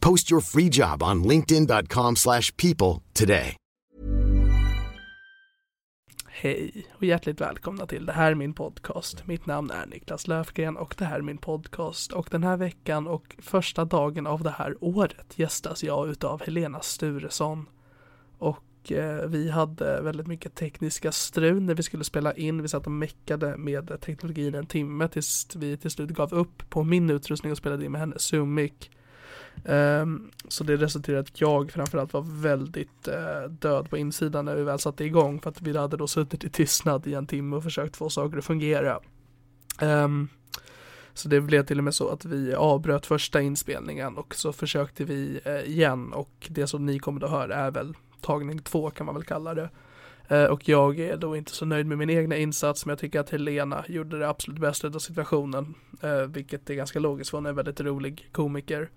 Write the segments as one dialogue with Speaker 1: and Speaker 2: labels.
Speaker 1: Post your free job on linkedin.com/people slash people today.
Speaker 2: Hej och hjärtligt välkomna till Det här är min podcast. Mitt namn är Niklas Löfgren och det här är min podcast. Och den här veckan och första dagen av det här året gästas jag utav Helena Sturesson. Och eh, vi hade väldigt mycket tekniska strul när vi skulle spela in. Vi satt och meckade med teknologin en timme tills vi till slut gav upp på min utrustning och spelade in med hennes Zoom-mic. Ehm, så det resulterade i att jag framförallt var väldigt eh, död på insidan när vi väl satte igång för att vi hade då suttit i tystnad i en timme och försökt få saker att fungera. Ehm, så det blev till och med så att vi avbröt första inspelningen och så försökte vi eh, igen och det som ni kommer att höra är väl tagning två kan man väl kalla det. Eh, Och jag är då inte så nöjd med min egna insats men jag tycker att Helena gjorde det absolut bästa av situationen. eh, Vilket är ganska logiskt för hon är en väldigt rolig komiker.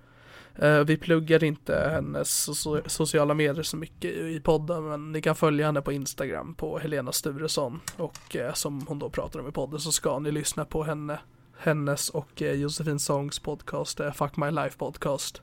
Speaker 2: Eh, Vi pluggar inte hennes so- sociala medier så mycket i i podden men ni kan följa henne på Instagram på Helena Sturesson och eh, som hon då pratar om i podden så ska ni lyssna på henne, hennes och eh, Josefin Songs podcast eh, Fuck My Life podcast.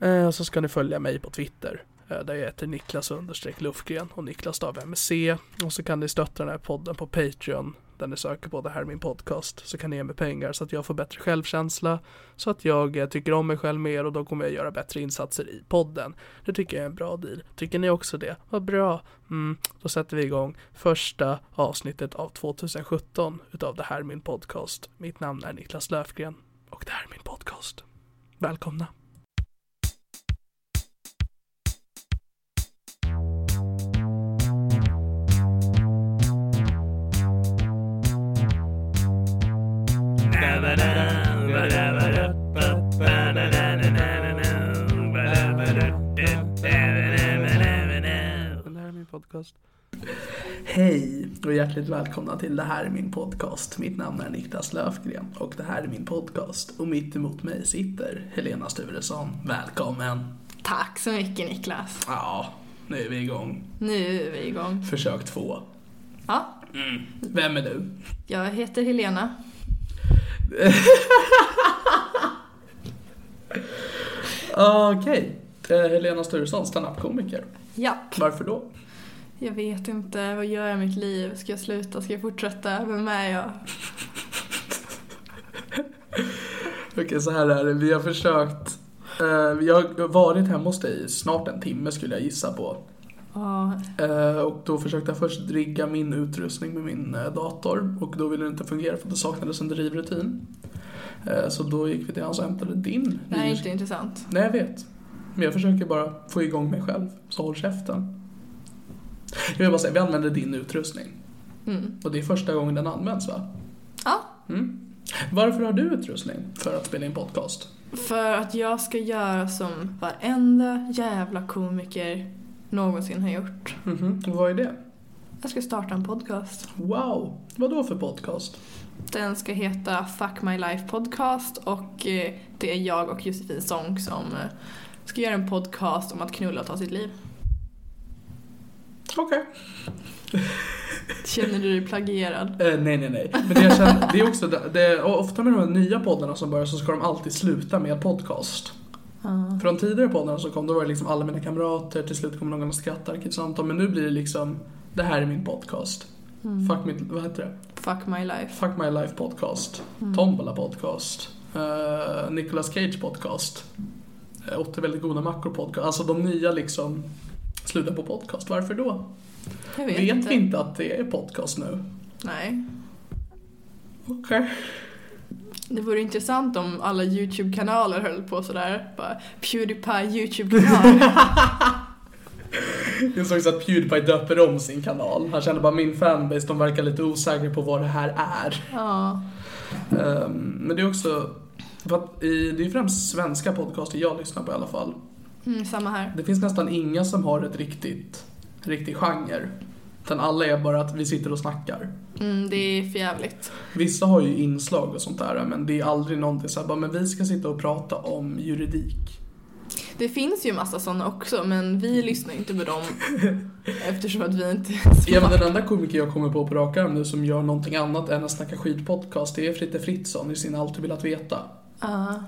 Speaker 2: Eh, Och så ska ni följa mig på Twitter eh, där jag heter Niklas understreck Lufgren och Niklas stav med C och så kan ni stötta den här podden på Patreon där ni söker på det här är min podcast så kan ni ge mig pengar så att jag får bättre självkänsla så att jag eh, tycker om mig själv mer och då kommer jag göra bättre insatser i podden. Det tycker jag är en bra deal. Tycker ni också det? Vad bra. Mm, då sätter vi igång första avsnittet av 2017 utav det här är min podcast. Mitt namn är Niklas Löfgren och det här är min podcast. Välkomna. Det här är min podcast. Hej och hjärtligt välkomna till Det här är min podcast. Mitt namn är Niklas Löfgren och det här är min podcast. Och mitt emot mig sitter Helena Sturesson. Välkommen!
Speaker 3: Tack så mycket Niklas.
Speaker 2: Ja, nu är vi igång.
Speaker 3: Nu är vi igång.
Speaker 2: Försök två.
Speaker 3: Ja,
Speaker 2: Vem är du?
Speaker 3: jag heter Helena.
Speaker 2: Okej. Eh, Helena Sturesson, standup-komiker.
Speaker 3: Japp.
Speaker 2: Varför då?
Speaker 3: Jag vet inte, vad gör jag i mitt liv? Ska jag sluta? Ska jag fortsätta? Vem är jag?
Speaker 2: Okej, så här är det. Vi har försökt... eh, jag har varit hemma hos dig i snart en timme skulle jag gissa på.
Speaker 3: Ja,
Speaker 2: Eh, och då försökte jag först rigga min utrustning med min eh, dator och då ville det inte fungera för att det saknades en drivrutin. Eh, så då gick vi till hans och hämtade din.
Speaker 3: det här är
Speaker 2: ny-
Speaker 3: inte intressant.
Speaker 2: Nej, jag vet. Men jag försöker bara få igång mig själv, så håll käften. Jag vill bara säga, vi använder din utrustning.
Speaker 3: Mm.
Speaker 2: Och det är första gången den används va?
Speaker 3: Ja,
Speaker 2: Varför har du utrustning för att spela in podcast?
Speaker 3: för att jag ska göra som varenda jävla komiker någonsin har gjort.
Speaker 2: Mhm, och vad är det?
Speaker 3: Jag ska starta en podcast.
Speaker 2: Wow, vad då för podcast?
Speaker 3: Den ska heta Fuck My Life Podcast och eh, det är jag och Josefin Song som eh, ska göra en podcast om att knulla och ta sitt liv.
Speaker 2: okej.
Speaker 3: Känner du dig plagierad?
Speaker 2: Eh, nej, nej, nej. Men det, jag känner, det är också, det, det, och ofta med de här nya poddarna som börjar så ska de alltid sluta med podcast. För de tidigare poddarna som kom, då var det liksom alla mina kamrater, till slut kommer någon och skrattar, arkivsamtal. Men nu blir det liksom, det här är min podcast. Fuck mitt, vad heter det?
Speaker 3: Fuck my life.
Speaker 2: Fuck My Life Podcast, Tombola Podcast, eh, Nicolas Cage Podcast, uh, Åtta väldigt goda mackor podcast. Alltså de nya liksom slutar på podcast. Varför då?
Speaker 3: Jag vet,
Speaker 2: Vet,
Speaker 3: inte.
Speaker 2: vi inte att det är podcast nu?
Speaker 3: Nej.
Speaker 2: Okej.
Speaker 3: Det vore intressant om alla YouTube-kanaler höll på sådär. Bara, Pewdiepie YouTube-kanal.
Speaker 2: Det såg så att Pewdiepie döper om sin kanal. Han kände bara min fanbase, de verkar lite osäkra på vad det här är.
Speaker 3: ja.
Speaker 2: Ehm, men det är också, för att i, det är främst svenska podcaster jag lyssnar på i alla fall.
Speaker 3: Mm, samma här.
Speaker 2: Det finns nästan inga som har ett riktigt, riktig genre. Utan alla är bara att vi sitter och snackar.
Speaker 3: Mm, det är för jävligt.
Speaker 2: Vissa har ju inslag och sånt där men det är aldrig någonting såhär bara men vi ska sitta och prata om juridik.
Speaker 3: Det finns ju massa sådana också men vi lyssnar inte på dem eftersom att vi inte ens
Speaker 2: Ja, men den enda komiker jag kommer på på rak arm nu som gör någonting annat än att snacka skitpodcast det är Fritte Fritzson i sin Alltid velat veta.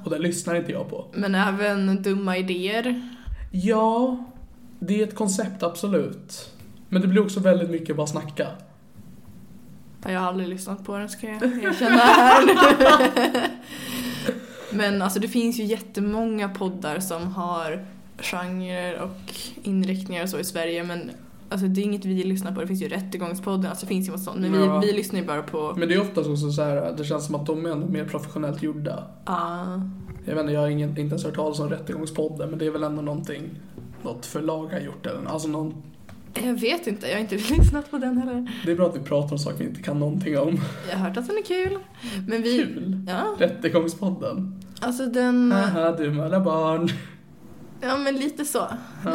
Speaker 2: Och den lyssnar inte jag på.
Speaker 3: Men även dumma idéer.
Speaker 2: Ja, det är ett koncept absolut. Men det blir också väldigt mycket bara snacka.
Speaker 3: Ja, Jag har aldrig lyssnat på den ska jag erkänna här nu. Men alltså det finns ju jättemånga poddar som har genrer och inriktningar och så i Sverige men alltså det är inget vi lyssnar på. Det finns ju Rättegångspodden, alltså det finns ju massa sånt. Men vi,
Speaker 2: Ja.
Speaker 3: vi lyssnar ju bara på
Speaker 2: Men det är oftast också så här, det känns som att de är ändå mer professionellt gjorda.
Speaker 3: ah,
Speaker 2: Jag vet inte, jag har ingen, inte ens hört talas om Rättegångspodden men det är väl ändå någonting något förlag har gjort eller alltså någon,
Speaker 3: jag vet inte, jag har inte lyssnat på den heller.
Speaker 2: Det är bra att vi pratar om saker vi inte kan någonting om.
Speaker 3: Jag har hört att den är kul. Men vi...
Speaker 2: Kul.
Speaker 3: Ja,
Speaker 2: Rättegångspodden.
Speaker 3: alltså den...
Speaker 2: Haha, du med alla barn.
Speaker 3: Ja men lite så.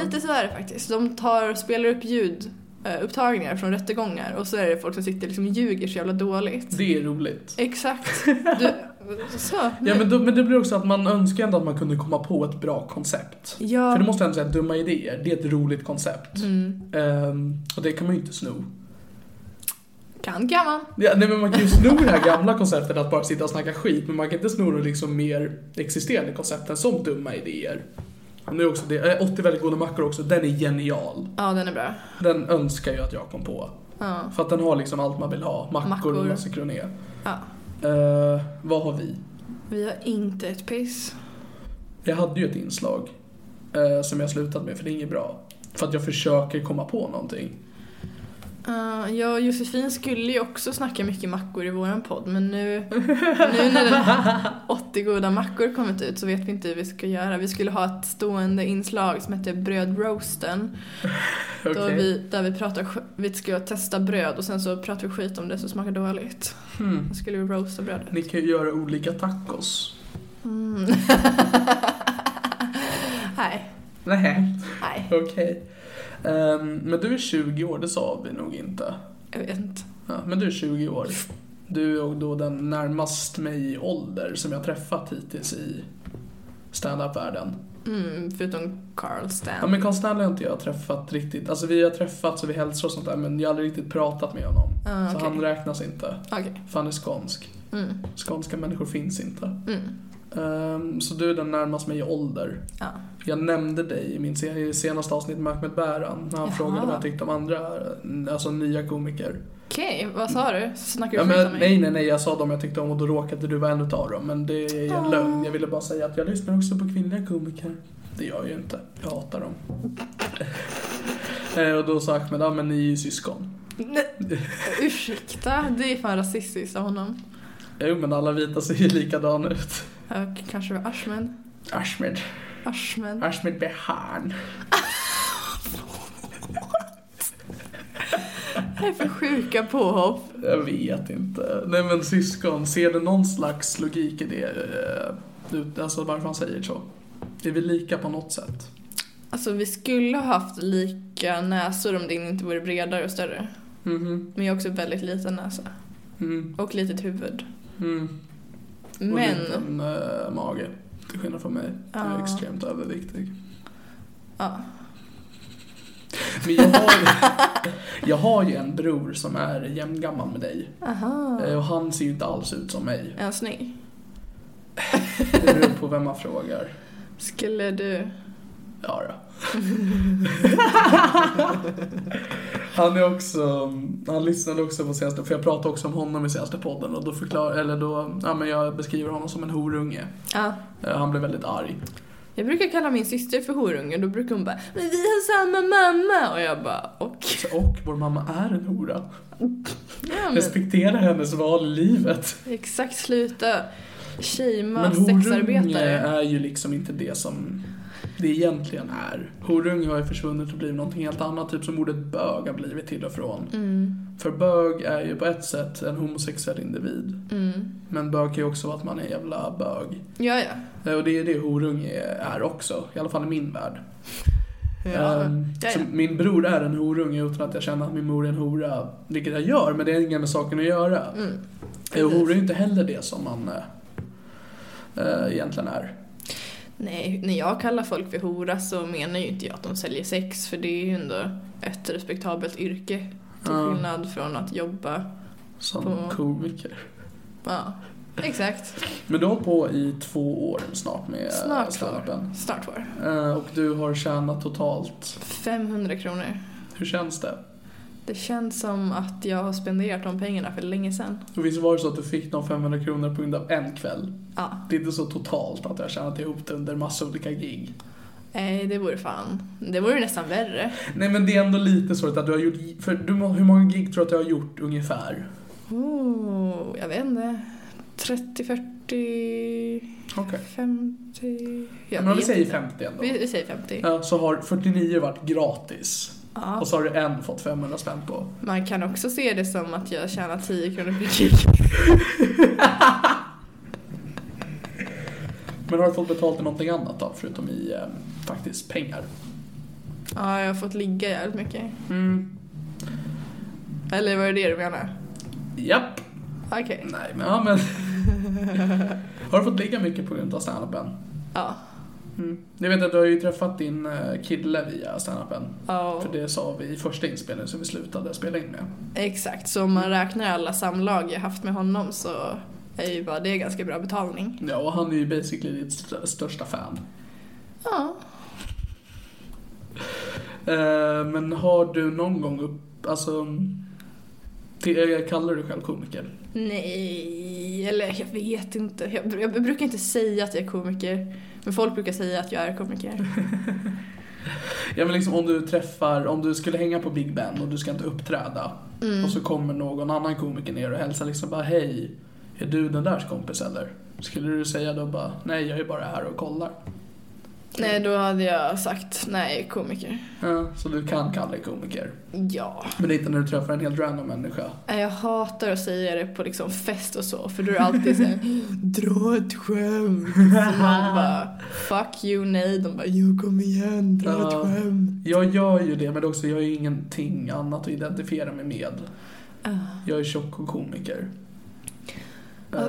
Speaker 3: Lite så är det faktiskt. De tar, spelar upp ljud eh, upptagningar från rättegångar och så är det folk som sitter liksom och ljuger så jävla dåligt.
Speaker 2: Det är roligt.
Speaker 3: Exakt. Du, så.
Speaker 2: Ja men, då, men det blir också att man önskar ändå att man kunde komma på ett bra koncept.
Speaker 3: Ja. Mm.
Speaker 2: För det måste jag ändå säga, dumma idéer, det är ett roligt koncept. Ehm, och det kan man ju inte sno.
Speaker 3: Kan kan man.
Speaker 2: Ja, nej men man kan ju sno det här gamla konceptet att bara sitta och snacka skit men man kan inte sno de liksom mer existerande koncepten som dumma idéer. Och nu är också det, eh, 80 väldigt goda mackor också, den är genial.
Speaker 3: Ja den är bra.
Speaker 2: Den önskar jag att jag kom på.
Speaker 3: Ja.
Speaker 2: För att den har liksom allt man vill ha, mackor,
Speaker 3: Mackor.
Speaker 2: och massa kroné.
Speaker 3: ja.
Speaker 2: Eh, vad har vi?
Speaker 3: Vi har inte ett piss.
Speaker 2: Jag hade ju ett inslag eh, som jag slutat med för det är inget bra. För att jag försöker komma på någonting.
Speaker 3: Uh, jag och Josefin skulle ju också snacka mycket mackor i våran podd men nu, nu när den 80 goda mackor kommit ut så vet vi inte hur vi ska göra. Vi skulle ha ett stående inslag som hette brödroasten. Då
Speaker 2: Okej.
Speaker 3: vi, där vi pratar, sk- vi skulle testa bröd och sen så pratar vi skit om det som smakar dåligt. Då skulle vi roasta brödet.
Speaker 2: Hmm.
Speaker 3: Mm.
Speaker 2: Ni kan ju göra olika tacos.
Speaker 3: Nej,
Speaker 2: Nej.
Speaker 3: nej,
Speaker 2: Okej. Ehm, men du är 20 år, det sa vi nog inte.
Speaker 3: jag vet inte.
Speaker 2: Ja, men du är 20 år. Du är då den närmast mig i ålder som jag träffat hittills i standup-världen.
Speaker 3: Mm, förutom Carl Stan.
Speaker 2: Ja, men Carl Stanley har inte jag träffat riktigt. Alltså vi har träffats och vi hälsar och sånt där men jag har aldrig riktigt pratat med honom.
Speaker 3: Ah,
Speaker 2: Så
Speaker 3: okej.
Speaker 2: han räknas inte.
Speaker 3: Okej.
Speaker 2: För han är skånsk.
Speaker 3: Mm,
Speaker 2: Skånska människor finns inte.
Speaker 3: mm,
Speaker 2: Ehm, så du är den närmast mig i ålder.
Speaker 3: ja.
Speaker 2: Jag nämnde dig i min se- i senaste avsnitt med Ahmed Bäran när han
Speaker 3: Jaha.
Speaker 2: frågade vad jag tyckte om andra, alltså nya komiker.
Speaker 3: Okej, vad sa du? Snackar du
Speaker 2: Ja,
Speaker 3: skit
Speaker 2: men,
Speaker 3: om mig?
Speaker 2: nej, nej, nej, jag sa dem jag tyckte om och då råkade du vara en utav dem. Men det är en lögn. Jag ville bara säga att jag lyssnar också på kvinnliga komiker. Det gör jag ju inte. Jag hatar dem. Eh, och då sa Ahmed, ja men ni är ju syskon.
Speaker 3: Nej. Ursäkta, det är fan rasistiskt av honom.
Speaker 2: Jo men alla vita ser ju likadana ut.
Speaker 3: Och kanske det var Ashmed.
Speaker 2: Ahmed.
Speaker 3: Ashmed.
Speaker 2: Ahmed Behan.
Speaker 3: Det är för sjuka påhopp.
Speaker 2: Jag vet inte. Nej men syskon, ser du någon slags logik i det? eh, ut- Alltså varför han säger så? Är vi lika på något sätt?
Speaker 3: Alltså vi skulle ha haft lika näsor om din inte vore bredare och större.
Speaker 2: Mhm.
Speaker 3: Men jag har också väldigt liten näsa.
Speaker 2: Mm.
Speaker 3: Och litet huvud.
Speaker 2: Mm. Och
Speaker 3: Men,
Speaker 2: liten eh, mage. Till skillnad från mig. Jag är
Speaker 3: Ja.
Speaker 2: extremt överviktig.
Speaker 3: ja.
Speaker 2: Men jag har, ju- jag har ju en bror som är jämngammal med dig.
Speaker 3: Aha.
Speaker 2: Eh, Och han ser ju inte alls ut som mig.
Speaker 3: Är han snygg?
Speaker 2: Det beror på vem man frågar.
Speaker 3: Skulle du...
Speaker 2: Ja då. han är också, han lyssnade också på senaste, för jag pratade också om honom i senaste podden och då förklarar, eller då, ja men jag beskriver honom som en horunge.
Speaker 3: Ja.
Speaker 2: Eh, Han blev väldigt arg.
Speaker 3: Jag brukar kalla min syster för horunge, då brukar hon bara Men vi har samma mamma! Och jag bara och...
Speaker 2: Så, Och vår mamma är en hora.
Speaker 3: Ja, men,
Speaker 2: Respektera hennes val i livet.
Speaker 3: exakt, sluta shamea
Speaker 2: Men horunge
Speaker 3: sexarbetare.
Speaker 2: är ju liksom inte det som det egentligen är. Horunge har ju försvunnit och blivit någonting helt annat, typ som ordet bög har blivit till och från.
Speaker 3: Mm.
Speaker 2: För bög är ju på ett sätt en homosexuell individ.
Speaker 3: Mm.
Speaker 2: Men bög kan ju också vara att man är en jävla bög.
Speaker 3: Ja, ja.
Speaker 2: Eh, Och det är det horunge är också, i alla fall i min värld. Ehm,
Speaker 3: Ja,
Speaker 2: så
Speaker 3: ja.
Speaker 2: min bror är en horunge utan att jag känner att min mor är en hora, vilket jag gör, men det har inget med saken att göra. Mm. Och hora är ju inte heller det som man eh, eh, egentligen är.
Speaker 3: Nej, när jag kallar folk för hora så menar ju inte jag att de säljer sex för det är ju ändå ett respektabelt yrke. Till
Speaker 2: Ja.
Speaker 3: skillnad från att jobba.
Speaker 2: Som
Speaker 3: På-
Speaker 2: komiker.
Speaker 3: Ja, exakt.
Speaker 2: Men du har på i två år snart med
Speaker 3: Snart
Speaker 2: standupen.
Speaker 3: var. Snart var.
Speaker 2: Eh, Och du har tjänat totalt,
Speaker 3: 500 kronor.
Speaker 2: hur känns det?
Speaker 3: Det känns som att jag har spenderat de pengarna för länge sedan.
Speaker 2: Och visst var det så att du fick de 500 kronor på grund av en kväll?
Speaker 3: Ja.
Speaker 2: Det är inte så totalt att jag har tjänat ihop det under massa olika gig.
Speaker 3: Nej, det vore fan. Det vore nästan värre.
Speaker 2: Nej men det är ändå lite så att du har gjort, för du, må- hur många gig tror du att du har gjort ungefär?
Speaker 3: Oh, jag vet inte. 30, 40,
Speaker 2: Okej.
Speaker 3: 50. Jag
Speaker 2: Men om vi
Speaker 3: vet
Speaker 2: säger
Speaker 3: inte.
Speaker 2: 50 ändå.
Speaker 3: Vi, vi säger 50.
Speaker 2: Ja, så har 49 varit gratis.
Speaker 3: Ja.
Speaker 2: Och så har du en fått 500 spänn på.
Speaker 3: Man kan också se det som att jag tjänar 10 kronor per gig.
Speaker 2: Men har du fått betalt i någonting annat då, förutom i eh, faktiskt pengar?
Speaker 3: Ja, jag har fått ligga jävligt mycket.
Speaker 2: Mm.
Speaker 3: Eller var det det du menade?
Speaker 2: Japp.
Speaker 3: Okej.
Speaker 2: Nej men, ja, men. har du fått ligga mycket på grund av standupen?
Speaker 3: Ja.
Speaker 2: Jag vet att du har ju träffat din eh, kille via standupen.
Speaker 3: Ja.
Speaker 2: För det sa vi i första inspelningen som vi slutade spela in med.
Speaker 3: Exakt, så om man räknar alla samlag jag haft med honom så är ju bara det ganska bra betalning.
Speaker 2: Ja, och han är ju basically ditt st- största fan.
Speaker 3: Ja.
Speaker 2: Eh, men har du någon gång upp, alltså, till, eh, kallar du dig själv komiker?
Speaker 3: Nej, eller jag vet inte. Jag, jag brukar inte säga att jag är komiker. Men folk brukar säga att jag är komiker.
Speaker 2: Ja men liksom om du träffar, om du skulle hänga på Big Ben och du ska inte uppträda. Och så kommer någon annan komiker ner och hälsar liksom bara hej, är du den där kompis eller? Skulle du säga då bara nej jag är bara här och kollar?
Speaker 3: nej, då hade jag sagt nej, komiker.
Speaker 2: Ja, så du kan kalla dig komiker.
Speaker 3: Ja.
Speaker 2: Men inte när du träffar en helt random människa.
Speaker 3: Nej, Jag hatar att säga det på liksom fest och så, för då är det alltid såhär Dra ett skämt! Så man bara Fuck you, nej. De bara Jo, kom igen, dra ett
Speaker 2: Ja.
Speaker 3: skämt.
Speaker 2: Jag gör ju det men också jag är ju ingenting annat att identifiera mig med. Jag är tjock och komiker. Eh,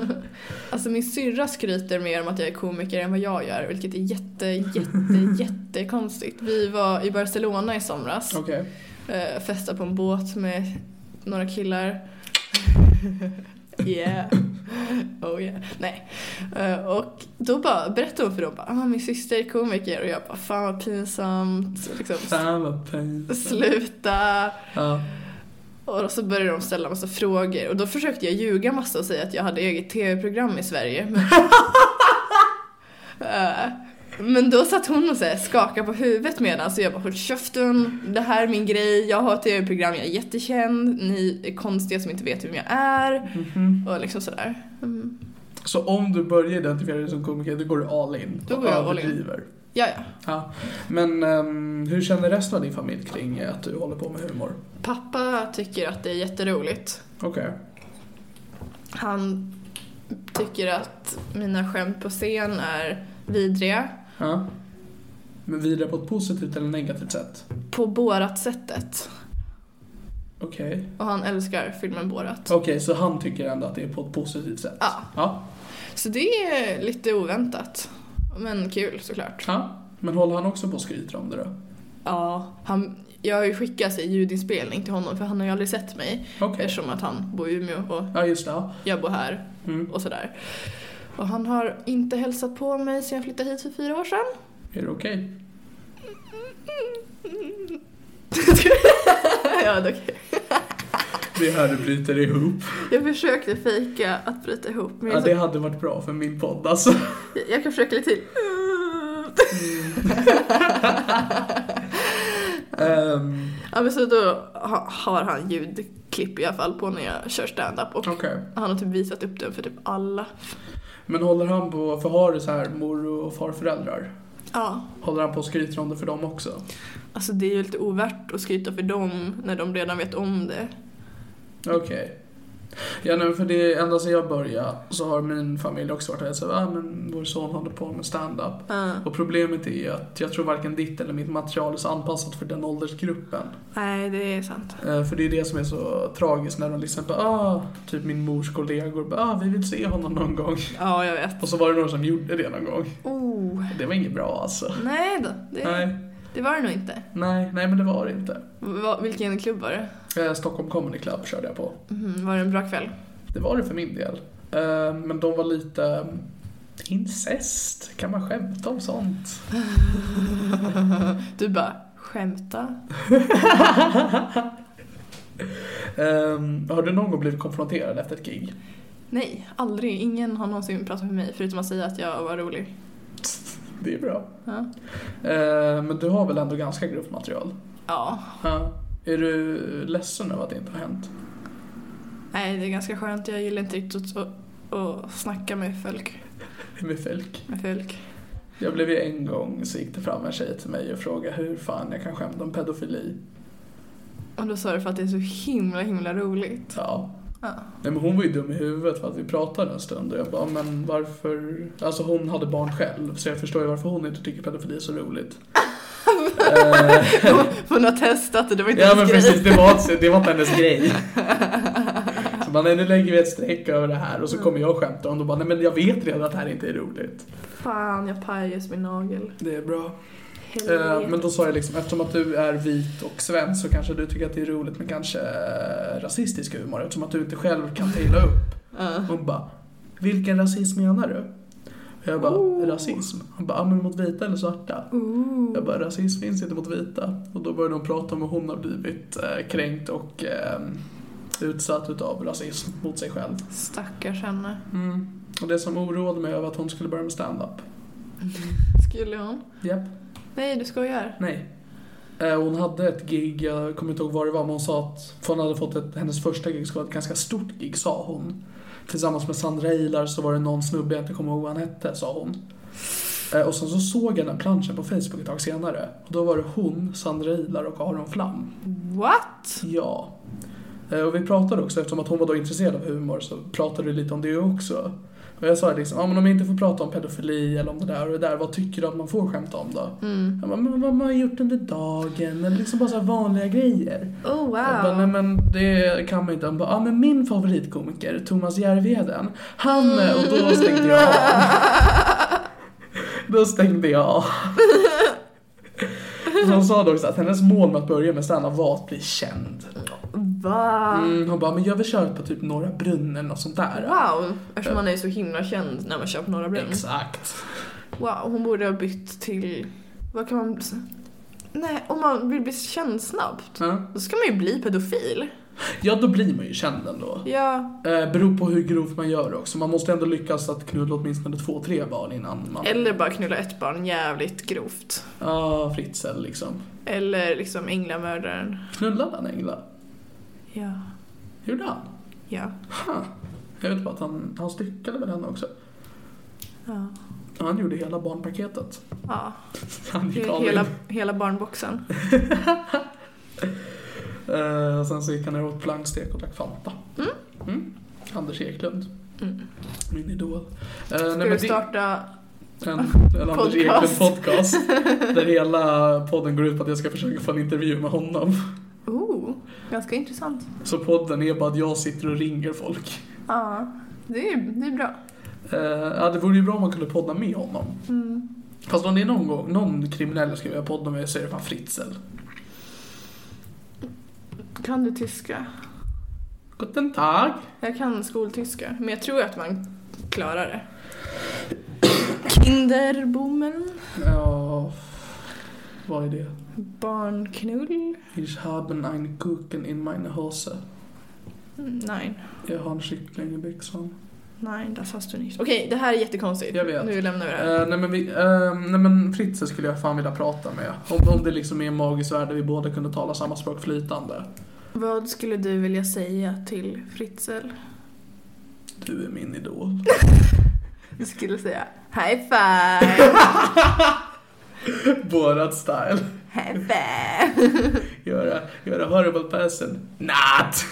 Speaker 3: Alltså min syrra skryter mer om att jag är komiker än vad jag gör, vilket är jätte, jätte, jättekonstigt. Vi var i Barcelona i somras,
Speaker 2: Okej.
Speaker 3: eh, festade på en båt med några killar. Yeah. Oh yeah. Nej. Eh, och då bara berättade hon för dem bara, ah, min syster är komiker och jag bara, fan vad pinsamt. Liksom,
Speaker 2: Fan vad pinsamt.
Speaker 3: sluta.
Speaker 2: Ja.
Speaker 3: Och då så började de ställa massa frågor och då försökte jag ljuga massa och säga att jag hade eget tv-program i Sverige. Men, Eh, men då satt hon och så här skakade på huvudet medan så jag bara håll käften, det här är min grej, jag har ett tv-program, jag är jättekänd, ni är konstiga som inte vet vem jag är. Och liksom sådär. Mm.
Speaker 2: Så om du börjar identifiera dig som komiker, då går du all in.
Speaker 3: Då
Speaker 2: och
Speaker 3: går jag all in.
Speaker 2: överdriver.
Speaker 3: Ja, ja.
Speaker 2: Ja. Men ehm, hur känner resten av din familj kring eh, att du håller på med humor?
Speaker 3: Pappa tycker att det är jätteroligt.
Speaker 2: Okej.
Speaker 3: Han tycker att mina skämt på scen är vidriga.
Speaker 2: Ja. Men vidare på ett positivt eller negativt sätt?
Speaker 3: På Borat-sättet.
Speaker 2: Okej.
Speaker 3: Och han älskar filmen Borat.
Speaker 2: Okej, så han tycker ändå att det är på ett positivt sätt?
Speaker 3: Ja.
Speaker 2: Ja.
Speaker 3: Så det är lite oväntat. Men kul såklart.
Speaker 2: ja. Men håller han också på och skryter om det då?
Speaker 3: Ja, han, jag har ju skickat sig ljudinspelning till honom för han har ju aldrig sett mig.
Speaker 2: Okej.
Speaker 3: Eftersom att han bor i Umeå och
Speaker 2: Ja, just det. Ja.
Speaker 3: jag bor här
Speaker 2: Mm.
Speaker 3: och sådär. Och han har inte hälsat på mig sedan jag flyttade hit för fyra år sedan.
Speaker 2: Är det okej?
Speaker 3: ja, det är okej.
Speaker 2: Det här du bryter ihop.
Speaker 3: Jag försökte fejka att bryta ihop men
Speaker 2: Ja,
Speaker 3: jag,
Speaker 2: det hade varit bra för min podd alltså.
Speaker 3: jag kan försöka lite till.
Speaker 2: Ehm,
Speaker 3: Ja men så då ha- har han ljudklipp i alla fall på när jag kör stand-up och
Speaker 2: Okej.
Speaker 3: han har typ visat upp den för typ alla.
Speaker 2: Men håller han på, för har du så här mor och farföräldrar?
Speaker 3: Ja,
Speaker 2: Håller han på och skryter om det för dem också?
Speaker 3: alltså det är ju lite ovärt att skryta för dem när de redan vet om det.
Speaker 2: Okej. Ja, nej, för det är ända sedan jag började så har min familj också varit så här, ah, men vår son håller på med stand-up.
Speaker 3: Ja.
Speaker 2: Och problemet är ju att jag tror varken ditt eller mitt material är så anpassat för den åldersgruppen.
Speaker 3: Nej, det är sant.
Speaker 2: Eh, För det är det som är så tragiskt när de liksom bara, ah, typ min mors kollegor bara, ah, vi vill se honom någon gång.
Speaker 3: Ja, jag vet.
Speaker 2: Och så var det några som gjorde det någon gång.
Speaker 3: Oh.
Speaker 2: Det var inget bra alltså.
Speaker 3: Nej då, det,
Speaker 2: Nej,
Speaker 3: det var det nog inte.
Speaker 2: nej, nej men det var det inte.
Speaker 3: Va, vilken klubb var det?
Speaker 2: Eh, Stockholm Comedy Club körde jag på.
Speaker 3: Mhm, var det en bra kväll?
Speaker 2: Det var det för min del. Eh, Men de var lite eh, incest, kan man skämta om sånt?
Speaker 3: Du bara, skämta?
Speaker 2: Eh, Har du någon gång blivit konfronterad efter ett gig?
Speaker 3: Nej, aldrig. Ingen har någonsin pratat med mig förutom att säga att jag var rolig.
Speaker 2: Det är bra.
Speaker 3: Ja.
Speaker 2: Eh, Men du har väl ändå ganska grovt material?
Speaker 3: ja.
Speaker 2: Ja. Är du ledsen över att det inte har hänt?
Speaker 3: Nej, det är ganska skönt. Jag gillar inte riktigt att, att, att snacka med folk.
Speaker 2: Med folk.
Speaker 3: Med folk.
Speaker 2: Jag blev ju en gång så gick det fram en tjej till mig och frågade hur fan jag kan skämta om pedofili.
Speaker 3: Och då sa du för att det är så himla, himla roligt.
Speaker 2: Ja.
Speaker 3: Ja.
Speaker 2: Nej, men hon var ju dum i huvudet för att vi pratade en stund och jag bara, men varför? Alltså hon hade barn själv så jag förstår ju varför hon inte tycker pedofili är så roligt. Eh,
Speaker 3: För hon har testat och det var inte
Speaker 2: ja men
Speaker 3: ens grej.
Speaker 2: precis, det var, det var inte hennes grej. Så bara, nej nu lägger vi ett streck över det här och så kommer jag och skämtar om det och bara, nej men jag vet redan att det här inte är roligt.
Speaker 3: Fan, jag pajar just min nagel.
Speaker 2: Det är bra.
Speaker 3: Helvete.
Speaker 2: Eh, Men då sa jag liksom, eftersom att du är vit och svensk så kanske du tycker att det är roligt med kanske eh, rasistisk humor eftersom att du inte själv kan ta illa upp.
Speaker 3: Ja.
Speaker 2: Hon bara, vilken rasism menar du? Och jag bara, rasism? Hon bara, "Ja, men mot vita eller svarta? Jag bara, rasism finns inte mot vita. Och då började de prata om hur hon har blivit eh, kränkt och eh, utsatt utav rasism mot sig själv.
Speaker 3: Stackars henne.
Speaker 2: Och det som oroade mig var att hon skulle börja med stand-up.
Speaker 3: Skulle hon?
Speaker 2: Japp.
Speaker 3: Nej, du skojar.
Speaker 2: Nej. Eh, Hon hade ett gig, jag kommer inte ihåg vad det var, men hon sa att för hon hade fått ett, hennes första gig skulle vara ett ganska stort gig, sa hon. Tillsammans med Sandra Ilar så var det någon snubbe jag inte kommer ihåg vad han hette, sa hon. Eh, Och sen så såg jag den planschen på Facebook ett tag senare. Och då var det hon, Sandra Ilar och Aron Flam.
Speaker 3: What?
Speaker 2: Ja. Eh, Och vi pratade också, eftersom att hon var då intresserad av humor så pratade vi lite om det också. Och jag sa liksom, ja men om jag inte får prata om pedofili eller om det där och det där, vad tycker du att man får skämta om då? Jag bara, men vad man har gjort under dagen eller liksom bara så här vanliga grejer.
Speaker 3: Oh
Speaker 2: Jag bara, nej
Speaker 3: wow.
Speaker 2: men det kan man inte. Han bara, ja men min favoritkomiker, Thomas Järvheden, han, eh, och då stängde jag av. Då stängde jag av. Så Hon sa också att hennes mål med att börja med standup var att bli känd.
Speaker 3: Va?
Speaker 2: Mm, hon bara, men jag vill köra på typ Norra Brunnen eller något sånt där.
Speaker 3: Wow, eftersom man är ju så himla känd när man kör på Norra Brunn.
Speaker 2: Exakt.
Speaker 3: Wow, hon borde ha bytt till... Vad kan man... bli- Nej, om man vill bli känd snabbt,
Speaker 2: Ja.
Speaker 3: då ska man ju bli pedofil.
Speaker 2: Ja, då blir man ju känd ändå.
Speaker 3: Ja,
Speaker 2: Eh, beror på hur grovt man gör också. Man måste ändå lyckas att knulla åtminstone två, tre barn innan man...
Speaker 3: eller bara knulla ett barn jävligt grovt.
Speaker 2: Ja, Fritzl liksom.
Speaker 3: Eller liksom änglamördaren.
Speaker 2: Knullade han Engla?
Speaker 3: Ja,
Speaker 2: Gjorde han?
Speaker 3: ja,
Speaker 2: Huh. Jag vet bara att han, han styckade väl henne också.
Speaker 3: ja.
Speaker 2: Ja, Han gjorde hela barnpaketet.
Speaker 3: Ja,
Speaker 2: Han gick all
Speaker 3: hela,
Speaker 2: in.
Speaker 3: hela barnboxen.
Speaker 2: Eh, sen så gick han ner och åt plankstek och drack Fanta. Mm. Anders Eklund. Min idol. Eh, nej,
Speaker 3: Mm. Ska
Speaker 2: men
Speaker 3: du
Speaker 2: det-
Speaker 3: starta...
Speaker 2: En, en Anders Eklund
Speaker 3: Podcast.
Speaker 2: podcast. Där hela podden går ut på att jag ska försöka få en intervju med honom.
Speaker 3: Oh, ganska intressant.
Speaker 2: Så podden är bara att jag sitter och ringer folk.
Speaker 3: Ja, det är, det är bra. Mm.
Speaker 2: Eh, ja, det vore ju bra om man kunde podda med honom. Fast om det är någon gång, någon kriminell jag ska göra podd med så är det fan Fritzl.
Speaker 3: Kan du tyska?
Speaker 2: Guten Tag!
Speaker 3: Jag kan skoltyska, men jag tror att man klarar det. Kinderbommen,
Speaker 2: Ja, vad är det?
Speaker 3: barnknull,
Speaker 2: Ich haben ein Kuchen in meine Hose.
Speaker 3: Mm, nej.
Speaker 2: Jag har en kyckling i byxan.
Speaker 3: Nein, das hast du nicht. Okej, det här är jättekonstigt.
Speaker 2: Jag vet.
Speaker 3: Nu lämnar vi det här.
Speaker 2: Eh, nej men, vi, eh, nej men Fritzl skulle jag fan vilja prata med. Om, om det liksom är en magisk värld där vi båda kunde tala samma språk flytande.
Speaker 3: Vad skulle du vilja säga till Fritzl?
Speaker 2: Du är min idol.
Speaker 3: Du skulle säga high five,
Speaker 2: Borat style.
Speaker 3: high five.
Speaker 2: Göra, göra horrible person. Not!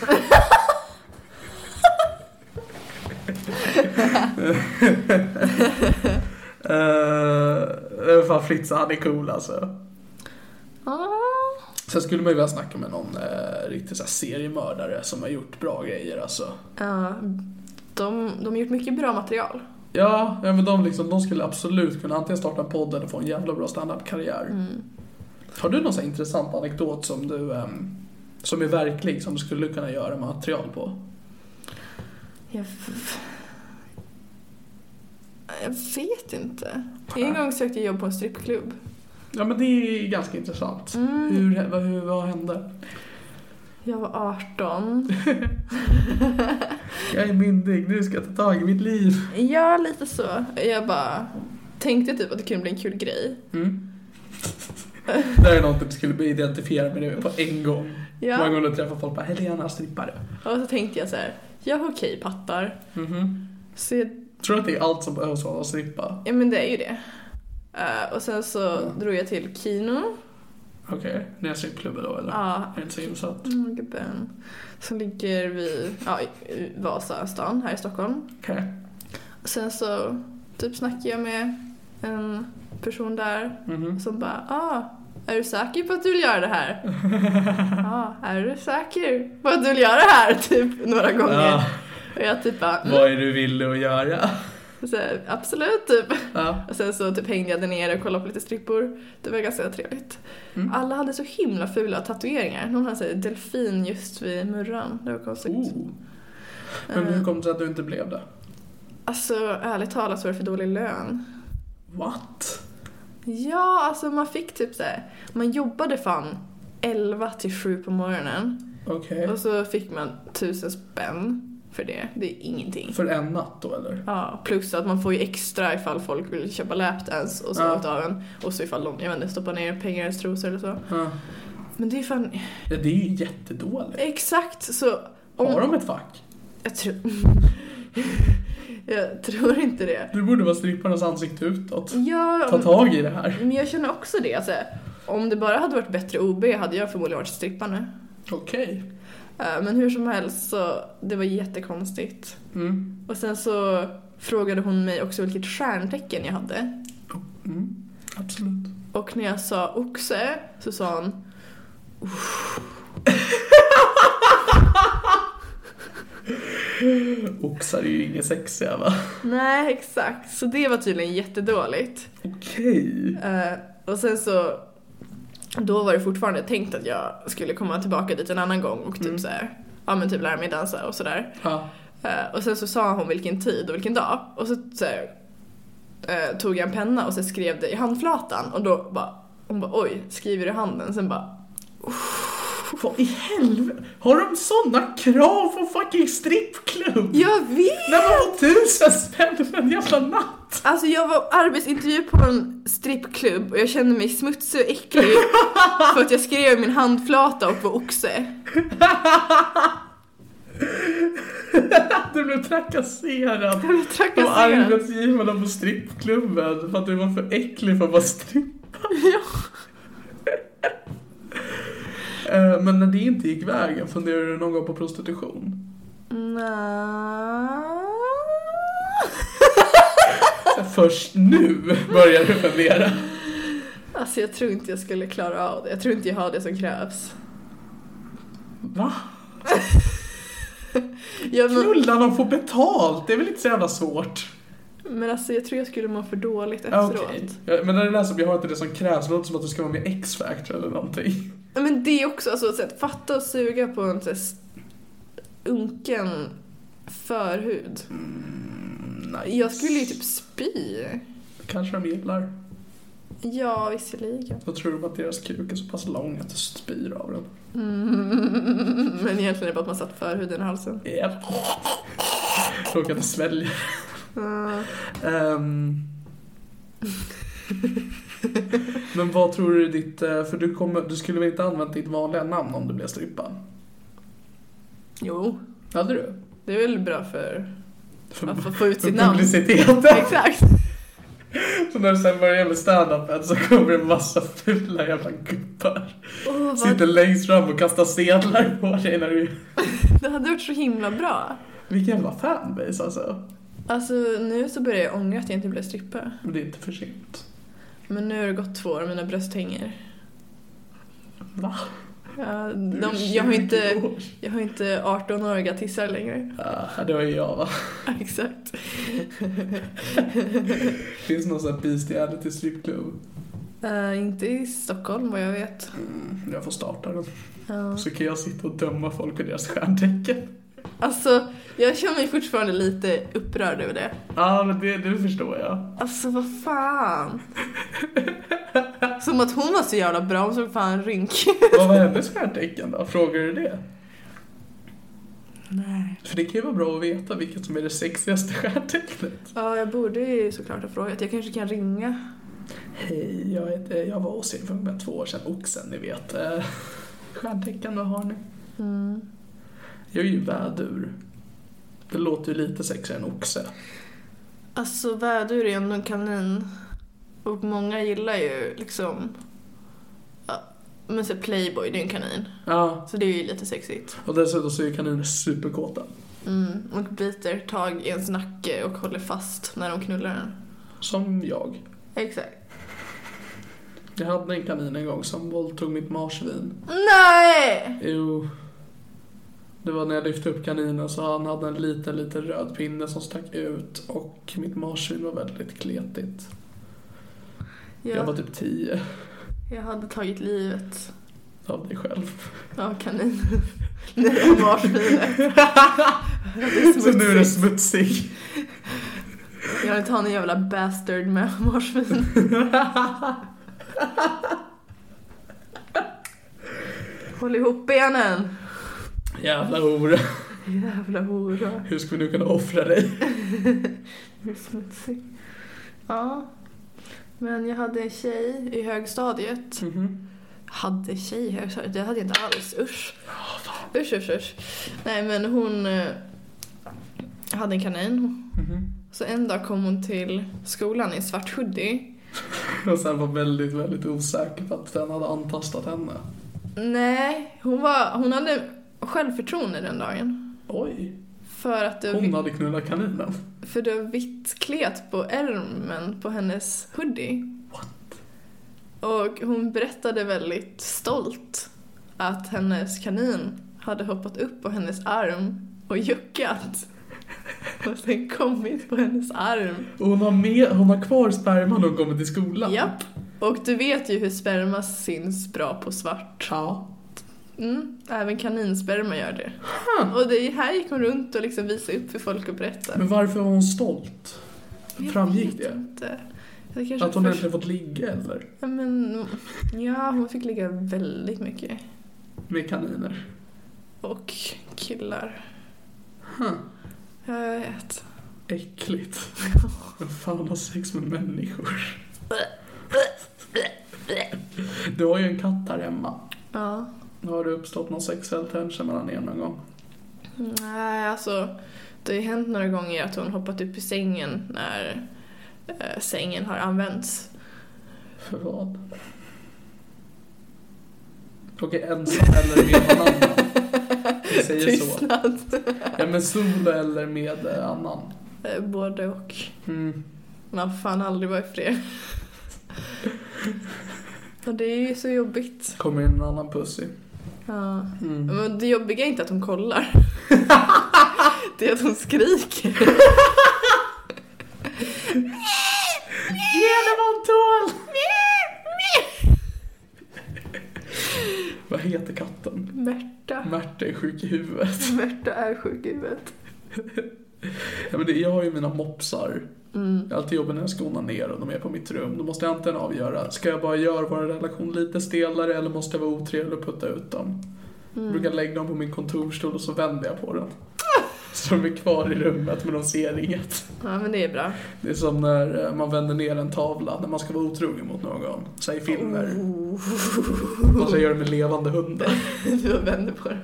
Speaker 2: uh, fan Fritzl, han är cool alltså.
Speaker 3: Ah.
Speaker 2: Sen skulle man ju vilja snacka med någon eh, riktig så här, seriemördare som har gjort bra grejer alltså.
Speaker 3: Ja, de, de har gjort mycket bra material.
Speaker 2: Ja, ja men de, liksom, de skulle absolut kunna antingen starta en podd eller få en jävla bra standup-karriär. Har du någon så här intressant anekdot som du ehm, som är verklig som du skulle kunna göra material på?
Speaker 3: Jag, f- jag vet inte. En gång sökte jag jobb på en strippklubb.
Speaker 2: Ja men det är ganska intressant.
Speaker 3: Mm.
Speaker 2: Hur, vad, hur, vad hände?
Speaker 3: Jag var 18.
Speaker 2: Jag är myndig, nu ska jag ta tag i mitt liv.
Speaker 3: Ja, lite så. Jag bara tänkte typ att det kunde bli en kul grej.
Speaker 2: Mm. Det här är något jag skulle identifiera mig med på en gång.
Speaker 3: Ja.
Speaker 2: Många gånger träffar folk bara “Helena, strippare”.
Speaker 3: Och så tänkte jag så här, jag har okej pattar. Så jag,
Speaker 2: Mhm. Tror du att det är allt som behövs för att strippa?
Speaker 3: ja men det är ju det. Eh, och sen så drog jag till Kino,
Speaker 2: Okej, det är en strippklubb då eller?
Speaker 3: Ja.
Speaker 2: Jag är inte så insatt.
Speaker 3: mm, gubben, som ligger vid ja, i- i Vasastan här i Stockholm.
Speaker 2: Okej.
Speaker 3: Och sen så typ snackade jag med en person där som bara ah, är du säker på att du vill göra det här? ah, är du säker på att du vill göra det här? Typ några gånger.
Speaker 2: Ja.
Speaker 3: Och jag typ bara, mm,
Speaker 2: Vad är du ville att göra?
Speaker 3: så här, absolut typ.
Speaker 2: Ja.
Speaker 3: Och sen så typ hängde jag där nere och kollade på lite strippor. Det var ganska trevligt. Alla hade så himla fula tatueringar. Någon hade såhär delfin just vid murran. Det var konstigt.
Speaker 2: Oh. Men
Speaker 3: Eh.
Speaker 2: hur kom det sig att du inte blev det?
Speaker 3: Alltså ärligt talat så var det för dålig lön.
Speaker 2: What?
Speaker 3: Ja, alltså man fick typ såhär. Man jobbade fan 11 till 7 på morgonen.
Speaker 2: Okej.
Speaker 3: Och så fick man 1000 spänn för det. Det är ingenting.
Speaker 2: För en natt då eller?
Speaker 3: Ja, plus att man får ju extra ifall folk vill köpa lapdance och sånt av en. Och så ifall de, jag vet inte, stoppar ner pengar i ens trosor eller så.
Speaker 2: Ja.
Speaker 3: Men det är fan,
Speaker 2: Ja, det är ju jättedåligt.
Speaker 3: Exakt, så... Om,
Speaker 2: Har de ett fack?
Speaker 3: jag, tror jag tror inte det.
Speaker 2: Du borde vara stripparnas ansikte utåt.
Speaker 3: Ja,
Speaker 2: Ta
Speaker 3: om,
Speaker 2: tag i det här.
Speaker 3: men jag känner också det. Alltså, om det bara hade varit bättre OB hade jag förmodligen varit strippa nu.
Speaker 2: Okej.
Speaker 3: Eh, Men hur som helst så, det var jättekonstigt.
Speaker 2: Mm.
Speaker 3: Och sen så frågade hon mig också vilket stjärntecken jag hade.
Speaker 2: Mm. Absolut.
Speaker 3: Och när jag sa oxe så sa hon
Speaker 2: Oxar är ju inget sexiga va?
Speaker 3: nej exakt. Så det var tydligen jättedåligt.
Speaker 2: Okej.
Speaker 3: Eh, och sen så, då var det fortfarande tänkt att jag skulle komma tillbaka dit en annan gång och typ så här, ja men typ lära mig dansa och sådär.
Speaker 2: Ja.
Speaker 3: Eh, och sen så sa hon vilken tid och vilken dag och så, så här, eh, tog jag en penna och så skrev det i handflatan och då bara, hon bara oj, skriver i handen? Sen bara,
Speaker 2: Vad i helvete? Har de såna krav på fucking strippklubb?
Speaker 3: jag vet!
Speaker 2: När man får tusen spänn för en jävla natt?
Speaker 3: Alltså jag var arbetsintervju på en strippklubb och jag kände mig smutsig och äcklig för att jag skrev i min handflata och var oxe.
Speaker 2: Du blev trakasserad.
Speaker 3: Jag blev
Speaker 2: Och
Speaker 3: trakasserad.
Speaker 2: arbetsgivarna på strippklubben för att du var för äcklig för att vara strippa. Eh, Men när det inte gick vägen, funderade du någon gång på prostitution?
Speaker 3: Nja.
Speaker 2: Först nu börjar du fundera.
Speaker 3: Alltså jag tror inte jag skulle klara av det. Jag tror inte jag har det som krävs.
Speaker 2: Va?
Speaker 3: Jag, men,
Speaker 2: Knulla, de får betalt. Det är väl inte så jävla svårt?
Speaker 3: Men alltså jag tror jag skulle må för dåligt
Speaker 2: Ja,
Speaker 3: efteråt.
Speaker 2: Okej. Ja, Men när du läser jag har inte det som krävs, det låter som att du ska vara med i X-Factor eller någonting.
Speaker 3: Ja, Men det är också alltså, så att fatta och suga på en så här, s- unken förhud.
Speaker 2: Nej,
Speaker 3: Jag skulle ju typ spy.
Speaker 2: kanske de gillar.
Speaker 3: Ja, visserligen.
Speaker 2: Då tror de att deras kuk är så pass lång att du spyr av den.
Speaker 3: Mm, men egentligen är det bara att man satt förhuden i halsen.
Speaker 2: Japp. Råkade inte svälja.
Speaker 3: Mm.
Speaker 2: Ehm. Men vad tror du ditt... eh, För du, kommer, du skulle väl inte använt ditt vanliga namn om du blev strippa?
Speaker 3: Jo,
Speaker 2: Hade du?
Speaker 3: det är väl bra för
Speaker 2: För,
Speaker 3: att få- få ut
Speaker 2: för
Speaker 3: sitt namn.
Speaker 2: publiciteten.
Speaker 3: Exakt.
Speaker 2: Så när du sen börjar med standupen så kommer det en massa fula jävla gubbar.
Speaker 3: Åh,
Speaker 2: Sitter
Speaker 3: vad,
Speaker 2: längst fram och kastar sedlar på dig när du...
Speaker 3: det hade varit så himla bra.
Speaker 2: Vilken jävla fanbase alltså.
Speaker 3: Alltså nu så börjar jag ångra att jag inte blev strippa.
Speaker 2: Men det är inte för sent.
Speaker 3: Men nu har det gått två år och mina bröst hänger.
Speaker 2: Va?
Speaker 3: Ja,
Speaker 2: Du är
Speaker 3: de, jag, har
Speaker 2: 20
Speaker 3: inte,
Speaker 2: år.
Speaker 3: jag har inte 18-åriga tissar längre.
Speaker 2: Ah, det var ju jag va.
Speaker 3: Exakt.
Speaker 2: Finns någon sån här bestiality strippklubb?
Speaker 3: Eh, inte i Stockholm vad jag vet.
Speaker 2: Mm, jag får starta den.
Speaker 3: Ja.
Speaker 2: Så kan jag sitta och döma folk för deras stjärntecken.
Speaker 3: Alltså, jag känner mig fortfarande lite upprörd över det.
Speaker 2: Ja, men det, det förstår jag.
Speaker 3: Alltså vad fan. Som att hon var så jävla bra, hon såg fan rynkig
Speaker 2: Vad var hennes stjärntecken då? Frågar du det?
Speaker 3: Nej.
Speaker 2: För det kan ju vara bra att veta vilket som är det sexigaste stjärntecknet.
Speaker 3: Ja, jag borde ju såklart ha frågat. Jag kanske kan ringa.
Speaker 2: Hej, jag, heter, jag var hos er för ungefär två år sedan. Oxen, ni vet. Eh, Stjärntecken, vad har ni?
Speaker 3: Mm.
Speaker 2: Jag är ju vädur. Det låter ju lite sexigare än oxe.
Speaker 3: Alltså vädur är ändå en kanin. Och många gillar ju liksom... Ja, men så Playboy, det är ju en kanin.
Speaker 2: Ja,
Speaker 3: Så det är ju lite sexigt.
Speaker 2: och dessutom så är ju kaniner superkåta.
Speaker 3: Mm. Och biter tag i ens nacke och håller fast när de knullar den.
Speaker 2: Som jag.
Speaker 3: Exakt.
Speaker 2: Jag hade en kanin en gång som våldtog mitt marsvin.
Speaker 3: Nej!
Speaker 2: Jo. Det var när jag lyfte upp kaninen så han hade en liten, liten röd pinne som stack ut och mitt marsvin var väldigt kletigt. Jag var
Speaker 3: Jag,
Speaker 2: typ 10
Speaker 3: jag hade tagit livet
Speaker 2: av dig själv.
Speaker 3: av kaninen. Nej, av marsvinet. Det är
Speaker 2: Så nu är det
Speaker 3: smutsigt.
Speaker 2: smutsig.
Speaker 3: Jag vill inte ha någon jävla bastard med marsvin. Håll ihop benen!
Speaker 2: Jävla hora.
Speaker 3: Jävla hora.
Speaker 2: Hur ska vi nu kunna offra dig?
Speaker 3: Hur smutsig. Ja. Men jag hade en tjej i högstadiet.
Speaker 2: Mm.
Speaker 3: Hade tjej i högstadiet? Det hade jag inte alls. Usch. Usch, usch, usch. Nej, men hon eh, hade en kanin. Så en dag kom hon till skolan i en svart hoodie.
Speaker 2: Och sen var väldigt, väldigt osäker på att den hade antastat henne.
Speaker 3: Nej, hon, var, hon hade självförtroende den dagen.
Speaker 2: Oj,
Speaker 3: För att det var,
Speaker 2: hon
Speaker 3: vi-
Speaker 2: hade knullat kaninen.
Speaker 3: för det var vitt klet på ärmen på hennes hoodie. Och hon berättade väldigt stolt att hennes kanin hade hoppat upp på hennes arm och juckat. Och sen kommit på hennes arm.
Speaker 2: Och hon har, med, hon har kvar sperman när hon kommer till skolan.
Speaker 3: Japp. Och du vet ju hur sperma syns bra på svart.
Speaker 2: Ja.
Speaker 3: Mm, även kaninsperma gör det. Och det här gick hon runt och liksom visade upp för folk och berättade.
Speaker 2: Men varför var hon stolt? Framgick
Speaker 3: Jag vet
Speaker 2: det?
Speaker 3: inte. Det kanske
Speaker 2: Att hon
Speaker 3: först...
Speaker 2: äntligen fått ligga eller?
Speaker 3: ja, men, ja, hon fick ligga väldigt mycket.
Speaker 2: Med kaniner.
Speaker 3: Och killar.
Speaker 2: Huh.
Speaker 3: Jag vet.
Speaker 2: Äckligt. Vem fan har sex med människor? Du har ju en katt här hemma.
Speaker 3: Ja.
Speaker 2: Har det uppstått någon sexuell tension mellan er någon gång?
Speaker 3: Nej, alltså. Det har ju hänt några gånger att hon hoppat upp i sängen när eh, sängen har använts.
Speaker 2: För vad? Okej, ensam eller med någon annan? Vi säger så.
Speaker 3: Tystnad.
Speaker 2: Ja men solo eller med eh, annan?
Speaker 3: Eh, Både och.
Speaker 2: Mm.
Speaker 3: Man får fan aldrig vara ifred. Och det är ju så jobbigt.
Speaker 2: Kommer in en annan pussy.
Speaker 3: Ja.
Speaker 2: Mm.
Speaker 3: Men det jobbiga är inte att hon kollar. Det är att hon skriker.
Speaker 2: heter katten?
Speaker 3: Märta.
Speaker 2: Märta är sjuk i huvudet.
Speaker 3: Märta är sjuk i huvudet.
Speaker 2: Ja, men det, jag har ju mina mopsar. Jag har alltid jobbar när jag ska ner och de är på mitt rum. Då måste jag antingen avgöra, ska jag bara göra vår relation lite stelare eller måste jag vara otrevlig och putta ut dem? Jag brukar lägga dem på min kontorsstol och så vänder jag på den. Så de är kvar i rummet men de ser inget.
Speaker 3: Ja men det är bra.
Speaker 2: Det är som när eh, man vänder ner en tavla när man ska vara otrogen mot någon. Säg filmer. Och så gör det med levande hundar.
Speaker 3: Du vänder på det.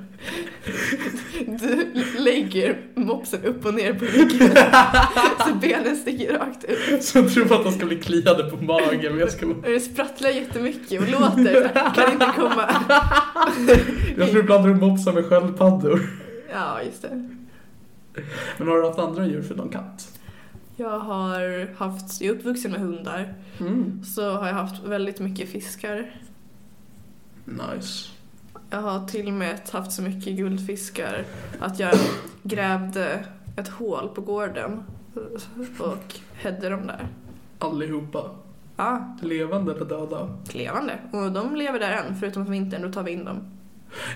Speaker 3: Du lägger mopsen upp och ner på ryggen. Så benen sticker rakt ut.
Speaker 2: Så jag tror att de ska bli kliade på magen men jag ska
Speaker 3: Och det sprattlar jättemycket och låter. Kan inte komma.
Speaker 2: Jag tror ibland du mopsar med sköldpaddor.
Speaker 3: Ja, just det.
Speaker 2: Men har du haft andra djur förutom katt?
Speaker 3: Jag har haft, jag är uppvuxen med hundar. Så har jag haft väldigt mycket fiskar.
Speaker 2: Nice.
Speaker 3: Jag har till och med haft så mycket guldfiskar att jag grävde ett hål på gården och hädde dem där.
Speaker 2: Allihopa.
Speaker 3: Ja,
Speaker 2: Levande eller döda?
Speaker 3: levande. Och de lever där än, förutom på vintern, då tar vi in dem.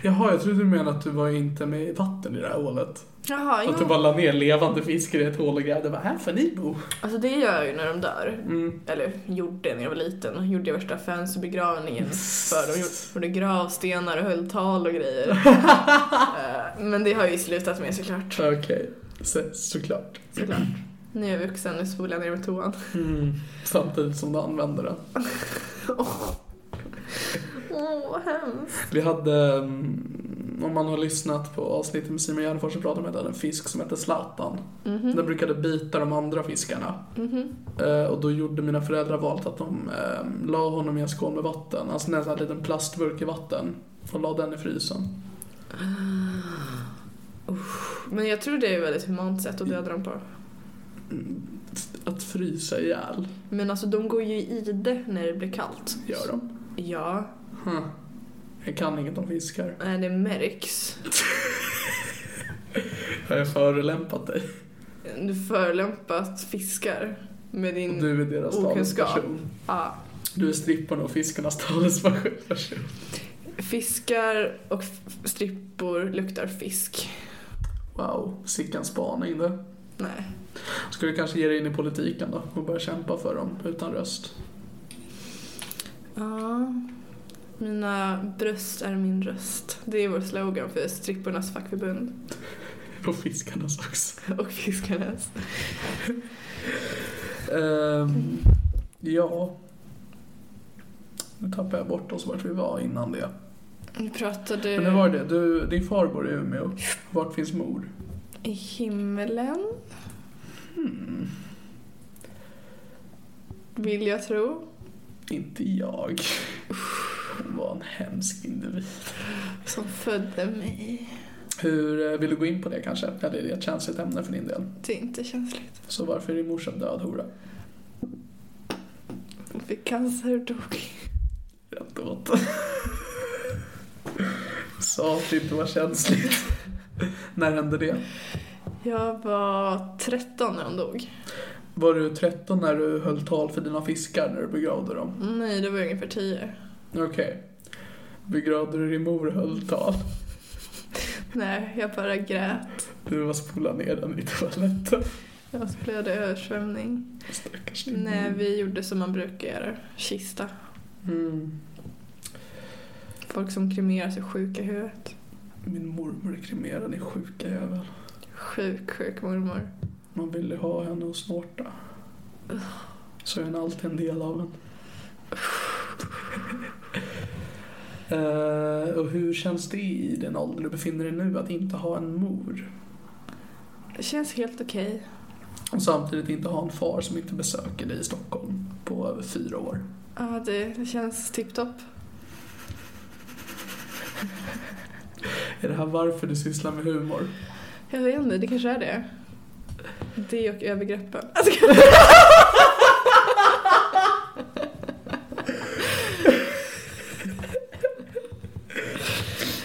Speaker 2: Jaha, jag trodde du menade att du var inte med i vatten i det här hålet.
Speaker 3: Jaha,
Speaker 2: Att du
Speaker 3: jo.
Speaker 2: bara la ner levande fiskar i ett hål och grävde. Bara, här får ni bo.
Speaker 3: Alltså det gör jag ju när de dör. Eller gjorde när jag var liten. Gjorde jag värsta fansbegravningen för dem. Gjorde- Gjorde gravstenar och höll tal och grejer. Eh, Men det har jag ju slutat med såklart.
Speaker 2: Okej, Så, såklart.
Speaker 3: såklart. Nu är jag vuxen, nu spolar jag ner med toan.
Speaker 2: Samtidigt som du använder den.
Speaker 3: Åh, vad hemskt.
Speaker 2: Vi hade, mm, om man har lyssnat på avsnittet med Simon Gärdenfors så pratade vi om en fisk som hette Zlatan. Den brukade bita de andra fiskarna. Eh, och då gjorde mina föräldrar valet att de eh, la honom i en skål med vatten, alltså en sån här liten plastburk i vatten. Och la den i frysen.
Speaker 3: Men jag tror det är ett väldigt humant sätt att döda dem på.
Speaker 2: Mm, Att frysa ihjäl,
Speaker 3: Men alltså de går ju i det när det blir kallt.
Speaker 2: gör de.
Speaker 3: Ja,
Speaker 2: Jag kan inget om fiskar.
Speaker 3: nej, det märks.
Speaker 2: Har jag förolämpat dig?
Speaker 3: Du förolämpat fiskar med din...
Speaker 2: Du är deras
Speaker 3: Okunskap.
Speaker 2: talesperson.
Speaker 3: Ja.
Speaker 2: Du är stripparna och fiskarnas talesperson.
Speaker 3: Fiskar och f- strippor luktar fisk.
Speaker 2: Wow, sicken spaning du.
Speaker 3: Nej.
Speaker 2: Ska du kanske ge dig in i politiken då och börja kämpa för dem utan röst?
Speaker 3: Ja. Mina bröst är min röst. Det är vår slogan för strippornas fackförbund
Speaker 2: Och fiskarnas också.
Speaker 3: och fiskarnas.
Speaker 2: Ehm, ja. Nu tappade jag bort oss vart vi var innan det.
Speaker 3: Vi
Speaker 2: Men nu var
Speaker 3: pratade
Speaker 2: det du, din far bor i Umeå. Vart finns mor?
Speaker 3: i himmelen. Vill jag tro.
Speaker 2: Inte jag. Hon var en hemsk individ.
Speaker 3: Som födde mig.
Speaker 2: Hur, eh, vill du gå in på det kanske? Eller är det ett känsligt ämne för din del?
Speaker 3: Det är inte känsligt.
Speaker 2: Så varför är din morsa död hora?
Speaker 3: Hon fick cancer och dog.
Speaker 2: Rätt åt. Sa att det inte var känsligt. När hände det?
Speaker 3: Jag var 13 när hon dog.
Speaker 2: Var du 13 när du höll tal för dina fiskar när du begravde dem?
Speaker 3: Nej, det var jag ungefär 10.
Speaker 2: Okej. Begravde du din mor och höll tal?
Speaker 3: Nej, jag bara grät.
Speaker 2: Du var spola ner den i toaletten.
Speaker 3: Jag spelade översvämning.
Speaker 2: Stackars din
Speaker 3: Nej, vi gjorde som man brukar göra. Kista.
Speaker 2: Mm.
Speaker 3: Folk som kremerar sig sjuka i huvudet.
Speaker 2: Min mormor är kremerad, din sjuka jävel.
Speaker 3: Sjuk, sjuk mormor.
Speaker 2: Man ville ju ha henne och snorta. Så är den alltid en del av en. Eh, och hur känns det i den ålder du befinner dig nu att inte ha en mor?
Speaker 3: Det känns helt okej.
Speaker 2: Och samtidigt inte ha en far som inte besöker dig i Stockholm på över fyra år.
Speaker 3: Ja, det, det känns tipptopp.
Speaker 2: Är det här varför du sysslar med humor?
Speaker 3: Jag vet inte, det kanske är det. Det och övergreppen.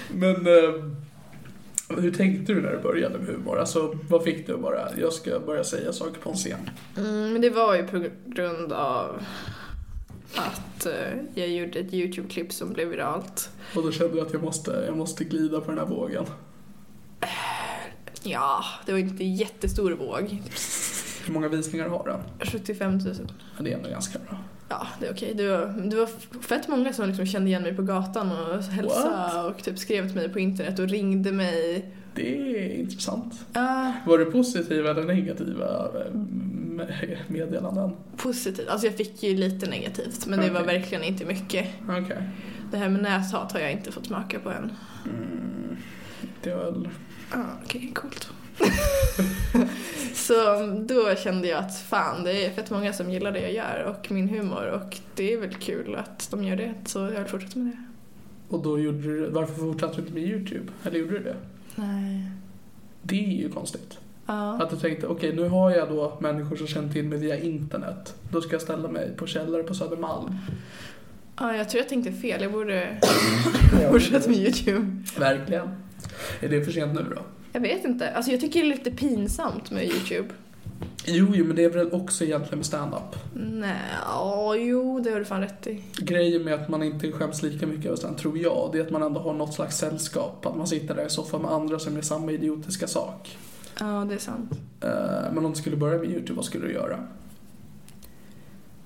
Speaker 2: Men eh, hur tänkte du när du började med humor? Alltså vad fick du bara? Jag ska börja säga saker på en scen.
Speaker 3: Mm, men det var ju på grund av att eh, jag gjorde ett YouTube-klipp som blev viralt.
Speaker 2: Och då kände jag att jag måste, jag måste glida på den här vågen.
Speaker 3: Ja, det var inte en jättestor våg.
Speaker 2: Hur många visningar har den?
Speaker 3: 75 000.
Speaker 2: Ja, det är ändå ganska bra.
Speaker 3: Ja, det är okej. Det, var, det var fett många som liksom kände igen mig på gatan och hälsade och typ skrev till mig på internet och ringde mig.
Speaker 2: Det är intressant.
Speaker 3: Ah,
Speaker 2: Var det positiva eller negativa eh, me- meddelanden?
Speaker 3: positivt. Alltså jag fick ju lite negativt men det var
Speaker 2: Okej.
Speaker 3: verkligen inte mycket.
Speaker 2: Okej.
Speaker 3: Det här med näshat har jag inte fått smaka på än.
Speaker 2: Det var väl...
Speaker 3: Ah, Okej, coolt. så um, då kände jag att fan, det är fett många som gillar det jag gör och min humor och det är väl kul att de gör det så jag vill fortsätta med det.
Speaker 2: Och då gjorde du... Varför fortsatte du inte med YouTube? Eller gjorde du det?
Speaker 3: Nej.
Speaker 2: Det är ju konstigt.
Speaker 3: Ja.
Speaker 2: Att du tänkte, okej nu har jag då människor som känner till mig via internet. Då ska jag ställa mig på källare på Södermalm.
Speaker 3: ja, jag tror jag tänkte fel. Jag borde fortsätta med YouTube.
Speaker 2: Verkligen. Är det för sent nu då?
Speaker 3: Jag vet inte. Alltså jag tycker det är lite pinsamt med YouTube.
Speaker 2: Jo, jo, men det är väl också egentligen med stand-up.
Speaker 3: Nej, ja, jo, det har du fan rätt i.
Speaker 2: Grejen med att man inte skäms lika mycket över stand tror jag, det är att man ändå har något slags sällskap. Att man sitter där i soffan med andra som gör samma idiotiska sak.
Speaker 3: Ja, det är sant.
Speaker 2: Eh, men om du skulle börja med YouTube, vad skulle du göra?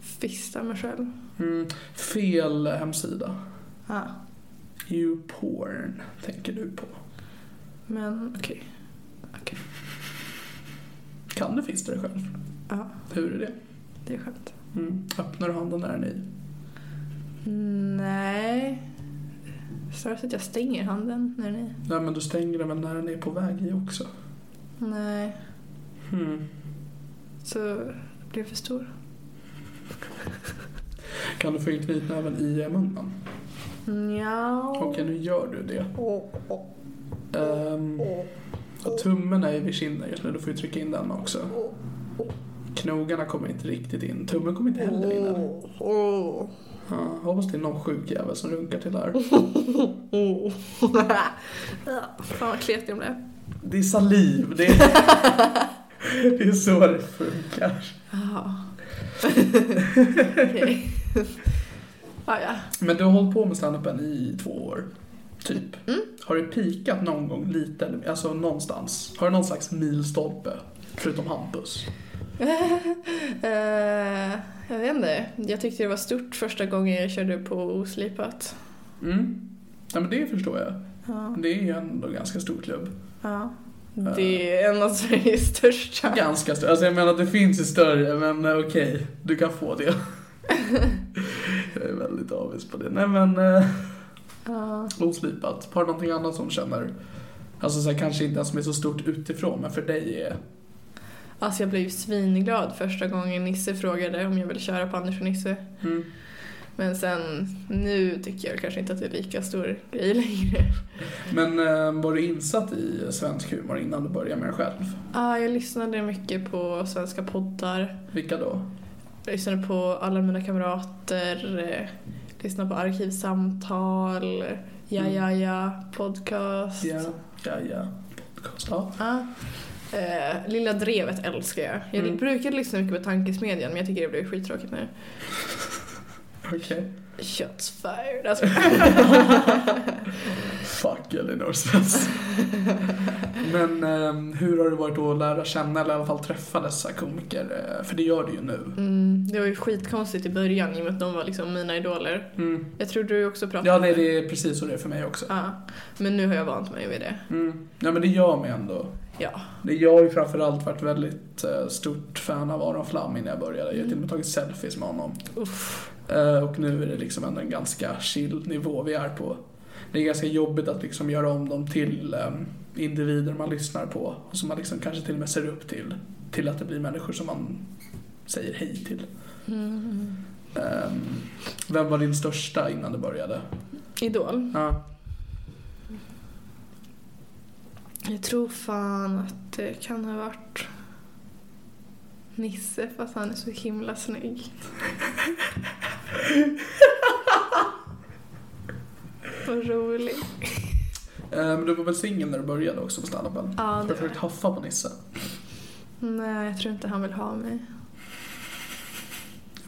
Speaker 3: Fista mig själv.
Speaker 2: Mm, fel hemsida.
Speaker 3: Ja.
Speaker 2: YouPorn tänker du på.
Speaker 3: Men okej. Okej.
Speaker 2: Kan du fista dig själv?
Speaker 3: Ja,
Speaker 2: Hur är det?
Speaker 3: det är skönt.
Speaker 2: Mm. Öppnar du handen när den är i?
Speaker 3: Nej. Snarare så att jag stänger handen när den är...
Speaker 2: Nej, men du stänger den väl när den är på väg i också?
Speaker 3: Nej.
Speaker 2: Hmm.
Speaker 3: Så blir jag för stor.
Speaker 2: Kan du få in knytnäven i munnen?
Speaker 3: Nja.
Speaker 2: Okej, nu gör du det. Ehm, och tummen är ju vid kinden just nu, då får du trycka in den också. Knogarna kommer inte riktigt in, tummen kommer inte heller in än.
Speaker 3: Åh.
Speaker 2: Ja, hoppas det är någon sjuk jävel som runkar till där.
Speaker 3: Åh. Ja, Fan vad kletig de blev.
Speaker 2: Det är saliv, det är, det är så det funkar.
Speaker 3: Jaha. Okej. Ja, ja.
Speaker 2: Men du har hållit på med standupen i två år, typ.
Speaker 3: Mm.
Speaker 2: Har du pikat någon gång lite, eller- alltså någonstans? Har du någon slags milstolpe? Förutom Hampus.
Speaker 3: Eh, jag vet inte. Jag tyckte det var stort första gången jag körde på oslipat.
Speaker 2: Mm. Ja, men det förstår jag.
Speaker 3: Ja.
Speaker 2: Det är ju ändå ganska stor klubb.
Speaker 3: ja. Det är en av Sveriges största.
Speaker 2: Ganska större. Alltså jag menar det finns ju större men eh, okej, du kan få det. jag är väldigt avis på det. Nej men eh,
Speaker 3: Ja.
Speaker 2: oslipat. Har du någonting annat som du känner? Alltså så här, kanske inte ens som är så stort utifrån men för dig är...
Speaker 3: Alltså jag blev ju svinglad första gången Nisse frågade om jag ville köra på Anders och Nisse.
Speaker 2: Mm.
Speaker 3: Men sen nu tycker jag kanske inte att det är lika stor grej längre.
Speaker 2: Men eh, var du insatt i svensk humor innan du började med det själv?
Speaker 3: Ah, jag lyssnade mycket på svenska poddar.
Speaker 2: Vilka då?
Speaker 3: Jag lyssnade på alla mina kamrater. Eh, lyssnade på arkivsamtal. Ja, ja, ja. Podcast.
Speaker 2: Mm. Ja, ja, ja. Podcast. Ja.
Speaker 3: Ja. Eh, Lilla Drevet älskar jag. Jag
Speaker 2: Mm.
Speaker 3: brukade lyssna mycket på Tankesmedjan men jag tycker det blev skittråkigt nu.
Speaker 2: Okej.
Speaker 3: Shots fired. Alltså.
Speaker 2: Fuck Elinor Svensson. Men ehm, hur har det varit då att lära känna eller i alla fall träffa dessa komiker? Eh, För det gör du ju nu.
Speaker 3: Mm, det var ju skitkonstigt i början i och med att de var liksom mina idoler.
Speaker 2: Mm.
Speaker 3: Jag tror du också pratade
Speaker 2: Ja,
Speaker 3: om
Speaker 2: nej, det är precis så det är för mig också.
Speaker 3: Ja, men nu har jag vant mig vid det.
Speaker 2: Mm. Ja, men det gör mig ändå.
Speaker 3: Ja.
Speaker 2: Det- Jag har ju framförallt varit väldigt eh, stort fan av Aron Flam innan jag började. Jag har till och med tagit selfies med honom.
Speaker 3: Uff.
Speaker 2: Eh, Och nu är det liksom ändå en ganska chill nivå vi är på. Det är ganska jobbigt att liksom göra om dem till ehm, individer man lyssnar på och som man liksom kanske till och med ser upp till. Till att det blir människor som man säger hej till.
Speaker 3: Mm.
Speaker 2: Ehm, vem var din största innan du började?
Speaker 3: Idol.
Speaker 2: Ja,
Speaker 3: Jag tror fan att det kan ha varit Nisse för att han är så himla snygg. Vad rolig.
Speaker 2: Eh, men du var väl singel när du började också på standupen?
Speaker 3: Ja,
Speaker 2: Har
Speaker 3: det
Speaker 2: du försökt haffa på Nisse?
Speaker 3: Nej, jag tror inte han vill ha mig.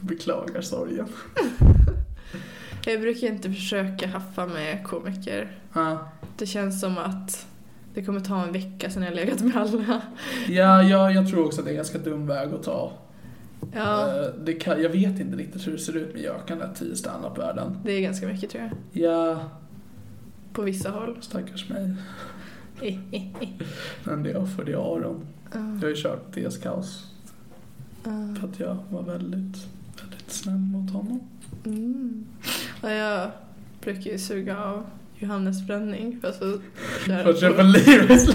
Speaker 2: Beklagar sorgen.
Speaker 3: Jag brukar inte försöka haffa med komiker.
Speaker 2: Ja.
Speaker 3: Det känns som att det kommer ta en vecka sen jag legat med alla.
Speaker 2: Ja, ja, jag tror också att det är en ganska dum väg att ta.
Speaker 3: Ja,
Speaker 2: Eh, Det kan, jag vet inte riktigt hur det ser ut med gökandet i standup-världen.
Speaker 3: det är ganska mycket tror jag.
Speaker 2: Ja,
Speaker 3: På vissa håll.
Speaker 2: stackars mig. Men det är jag för det är Aron. Jag har ju kört DS Kaos
Speaker 3: Ja.
Speaker 2: för att jag var väldigt, väldigt snäll mot honom.
Speaker 3: Mm. Och jag brukar ju suga av Johannes bränning för att få köra
Speaker 2: För att köpa livets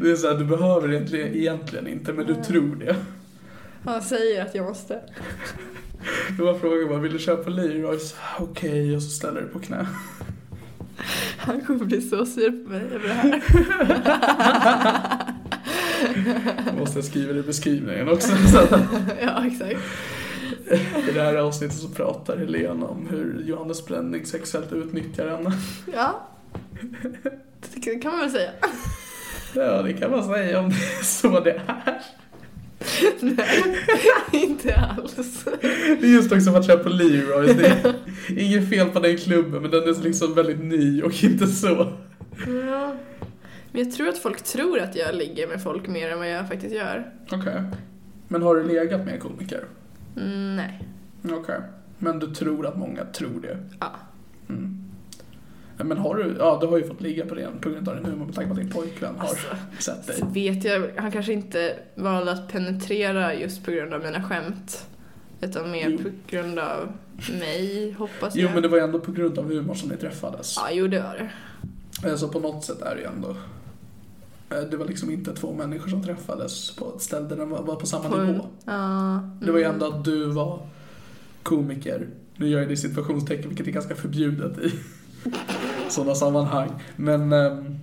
Speaker 2: Det är såhär, du behöver egentligen, egentligen inte men du tror det.
Speaker 3: Han säger att jag måste.
Speaker 2: Det var frågan bara, vill du köpa Leroys? Okej, och så ställer du dig på knä.
Speaker 3: Han kommer bli så sur på mig över det här.
Speaker 2: Måste jag skriva det i beskrivningen också. Så att
Speaker 3: ja, exakt.
Speaker 2: I det här avsnittet så pratar Helena om hur Johannes Bränning sexuellt utnyttjar henne.
Speaker 3: Ja. Det kan man väl säga.
Speaker 2: Ja, det kan man säga om det är så det är.
Speaker 3: Nej, inte alls.
Speaker 2: Det är just också att köpa på Leroys. Det är inget fel på den klubben, men den är liksom väldigt ny och inte så.
Speaker 3: Ja. Men jag tror att folk tror att jag ligger med folk mer än vad jag faktiskt gör.
Speaker 2: Okej. Men har du legat med komiker?
Speaker 3: Mm, nej.
Speaker 2: Okej. Men du tror att många tror det?
Speaker 3: Ja.
Speaker 2: Mm. Men har du, ja du har ju fått ligga på det på grund av din humor med tanke på att din pojkvän har
Speaker 3: Alltså,
Speaker 2: sett dig.
Speaker 3: Så vet jag, han kanske inte valde att penetrera just på grund av mina skämt. Utan mer
Speaker 2: Jo.
Speaker 3: på grund av mig, hoppas
Speaker 2: Jo
Speaker 3: jag.
Speaker 2: men det var ju ändå på grund av humor som ni träffades.
Speaker 3: Ja, jo det var det.
Speaker 2: Alltså på något sätt är det ju ändå... eh, Det var liksom inte två människor som träffades på ett ställe där de var var på samma
Speaker 3: På-
Speaker 2: nivå.
Speaker 3: Ja. Mm.
Speaker 2: Det var ju ändå att du var komiker. Nu gör jag det i situationstecken, vilket är ganska förbjudet i sådana sammanhang. Men ehm,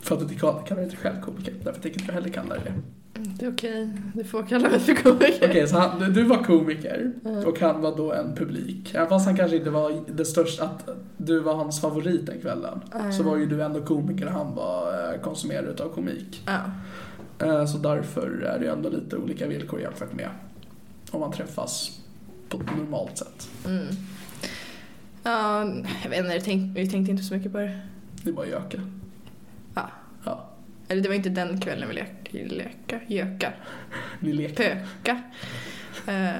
Speaker 2: för att du inte kallar kallar dig själv komiker, därför tänker inte jag heller kalla dig det.
Speaker 3: Det är okej, du får kalla mig för komiker.
Speaker 2: Okej, så han, du- du var komiker
Speaker 3: Mm.
Speaker 2: och han var då en publik. Även fast han kanske inte var det största, att du var hans favorit den kvällen. Så var ju
Speaker 3: Mm.
Speaker 2: du ändå komiker och han var eh, konsumerare utav komik.
Speaker 3: Ja.
Speaker 2: Eh, Så därför är det ju ändå lite olika villkor jämfört med om man träffas på ett normalt sätt.
Speaker 3: Mm. Ja, jag vet inte, jag tänkte, jag tänkte inte så mycket på det.
Speaker 2: Det är bara göka.
Speaker 3: Ja.
Speaker 2: Ja.
Speaker 3: Eller det var inte den kvällen vi lekte, leka, göka,
Speaker 2: Ni leker.
Speaker 3: pöka. Eh,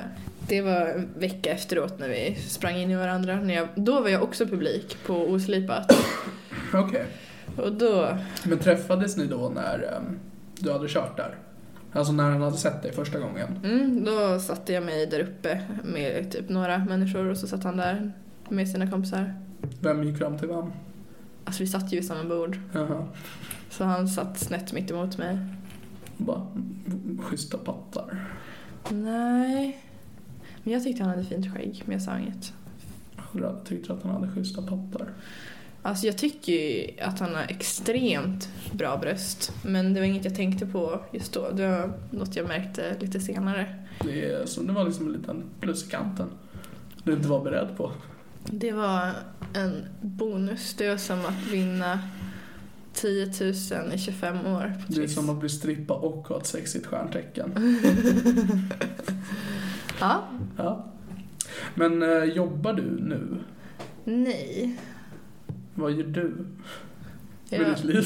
Speaker 3: det var en vecka efteråt när vi sprang in i varandra. När jag, då var jag också publik på Oslipat.
Speaker 2: Okej.
Speaker 3: Och då,
Speaker 2: Men träffades ni då när ehm, du hade kört där? Alltså när han hade sett dig första gången?
Speaker 3: mm, då satte jag mig där uppe med typ några människor och så satt han där med sina kompisar.
Speaker 2: Vem gick fram till vem?
Speaker 3: Alltså vi satt ju vid samma bord.
Speaker 2: Jaha.
Speaker 3: Så han satt snett mitt emot mig.
Speaker 2: Bara mm, schyssta pattar.
Speaker 3: Nej. Men jag tyckte han hade fint skägg, men jag sa inget.
Speaker 2: Jag tyckte att han hade schyssta pattar.
Speaker 3: Alltså jag tycker ju att han har extremt bra bröst. Men det var inget jag tänkte på just då. Det var något jag märkte lite senare.
Speaker 2: Det, är, så det var liksom en liten plus i kanten. Du inte var beredd på.
Speaker 3: Det var en bonus. Det var som att vinna 10 000 i 25 år. på
Speaker 2: Det är
Speaker 3: Triss.
Speaker 2: som att bli strippa och ha ett sexigt stjärntecken.
Speaker 3: Ja.
Speaker 2: Ja. Men eh, jobbar du nu?
Speaker 3: Nej.
Speaker 2: Vad gör du med
Speaker 3: Jag,
Speaker 2: ditt liv?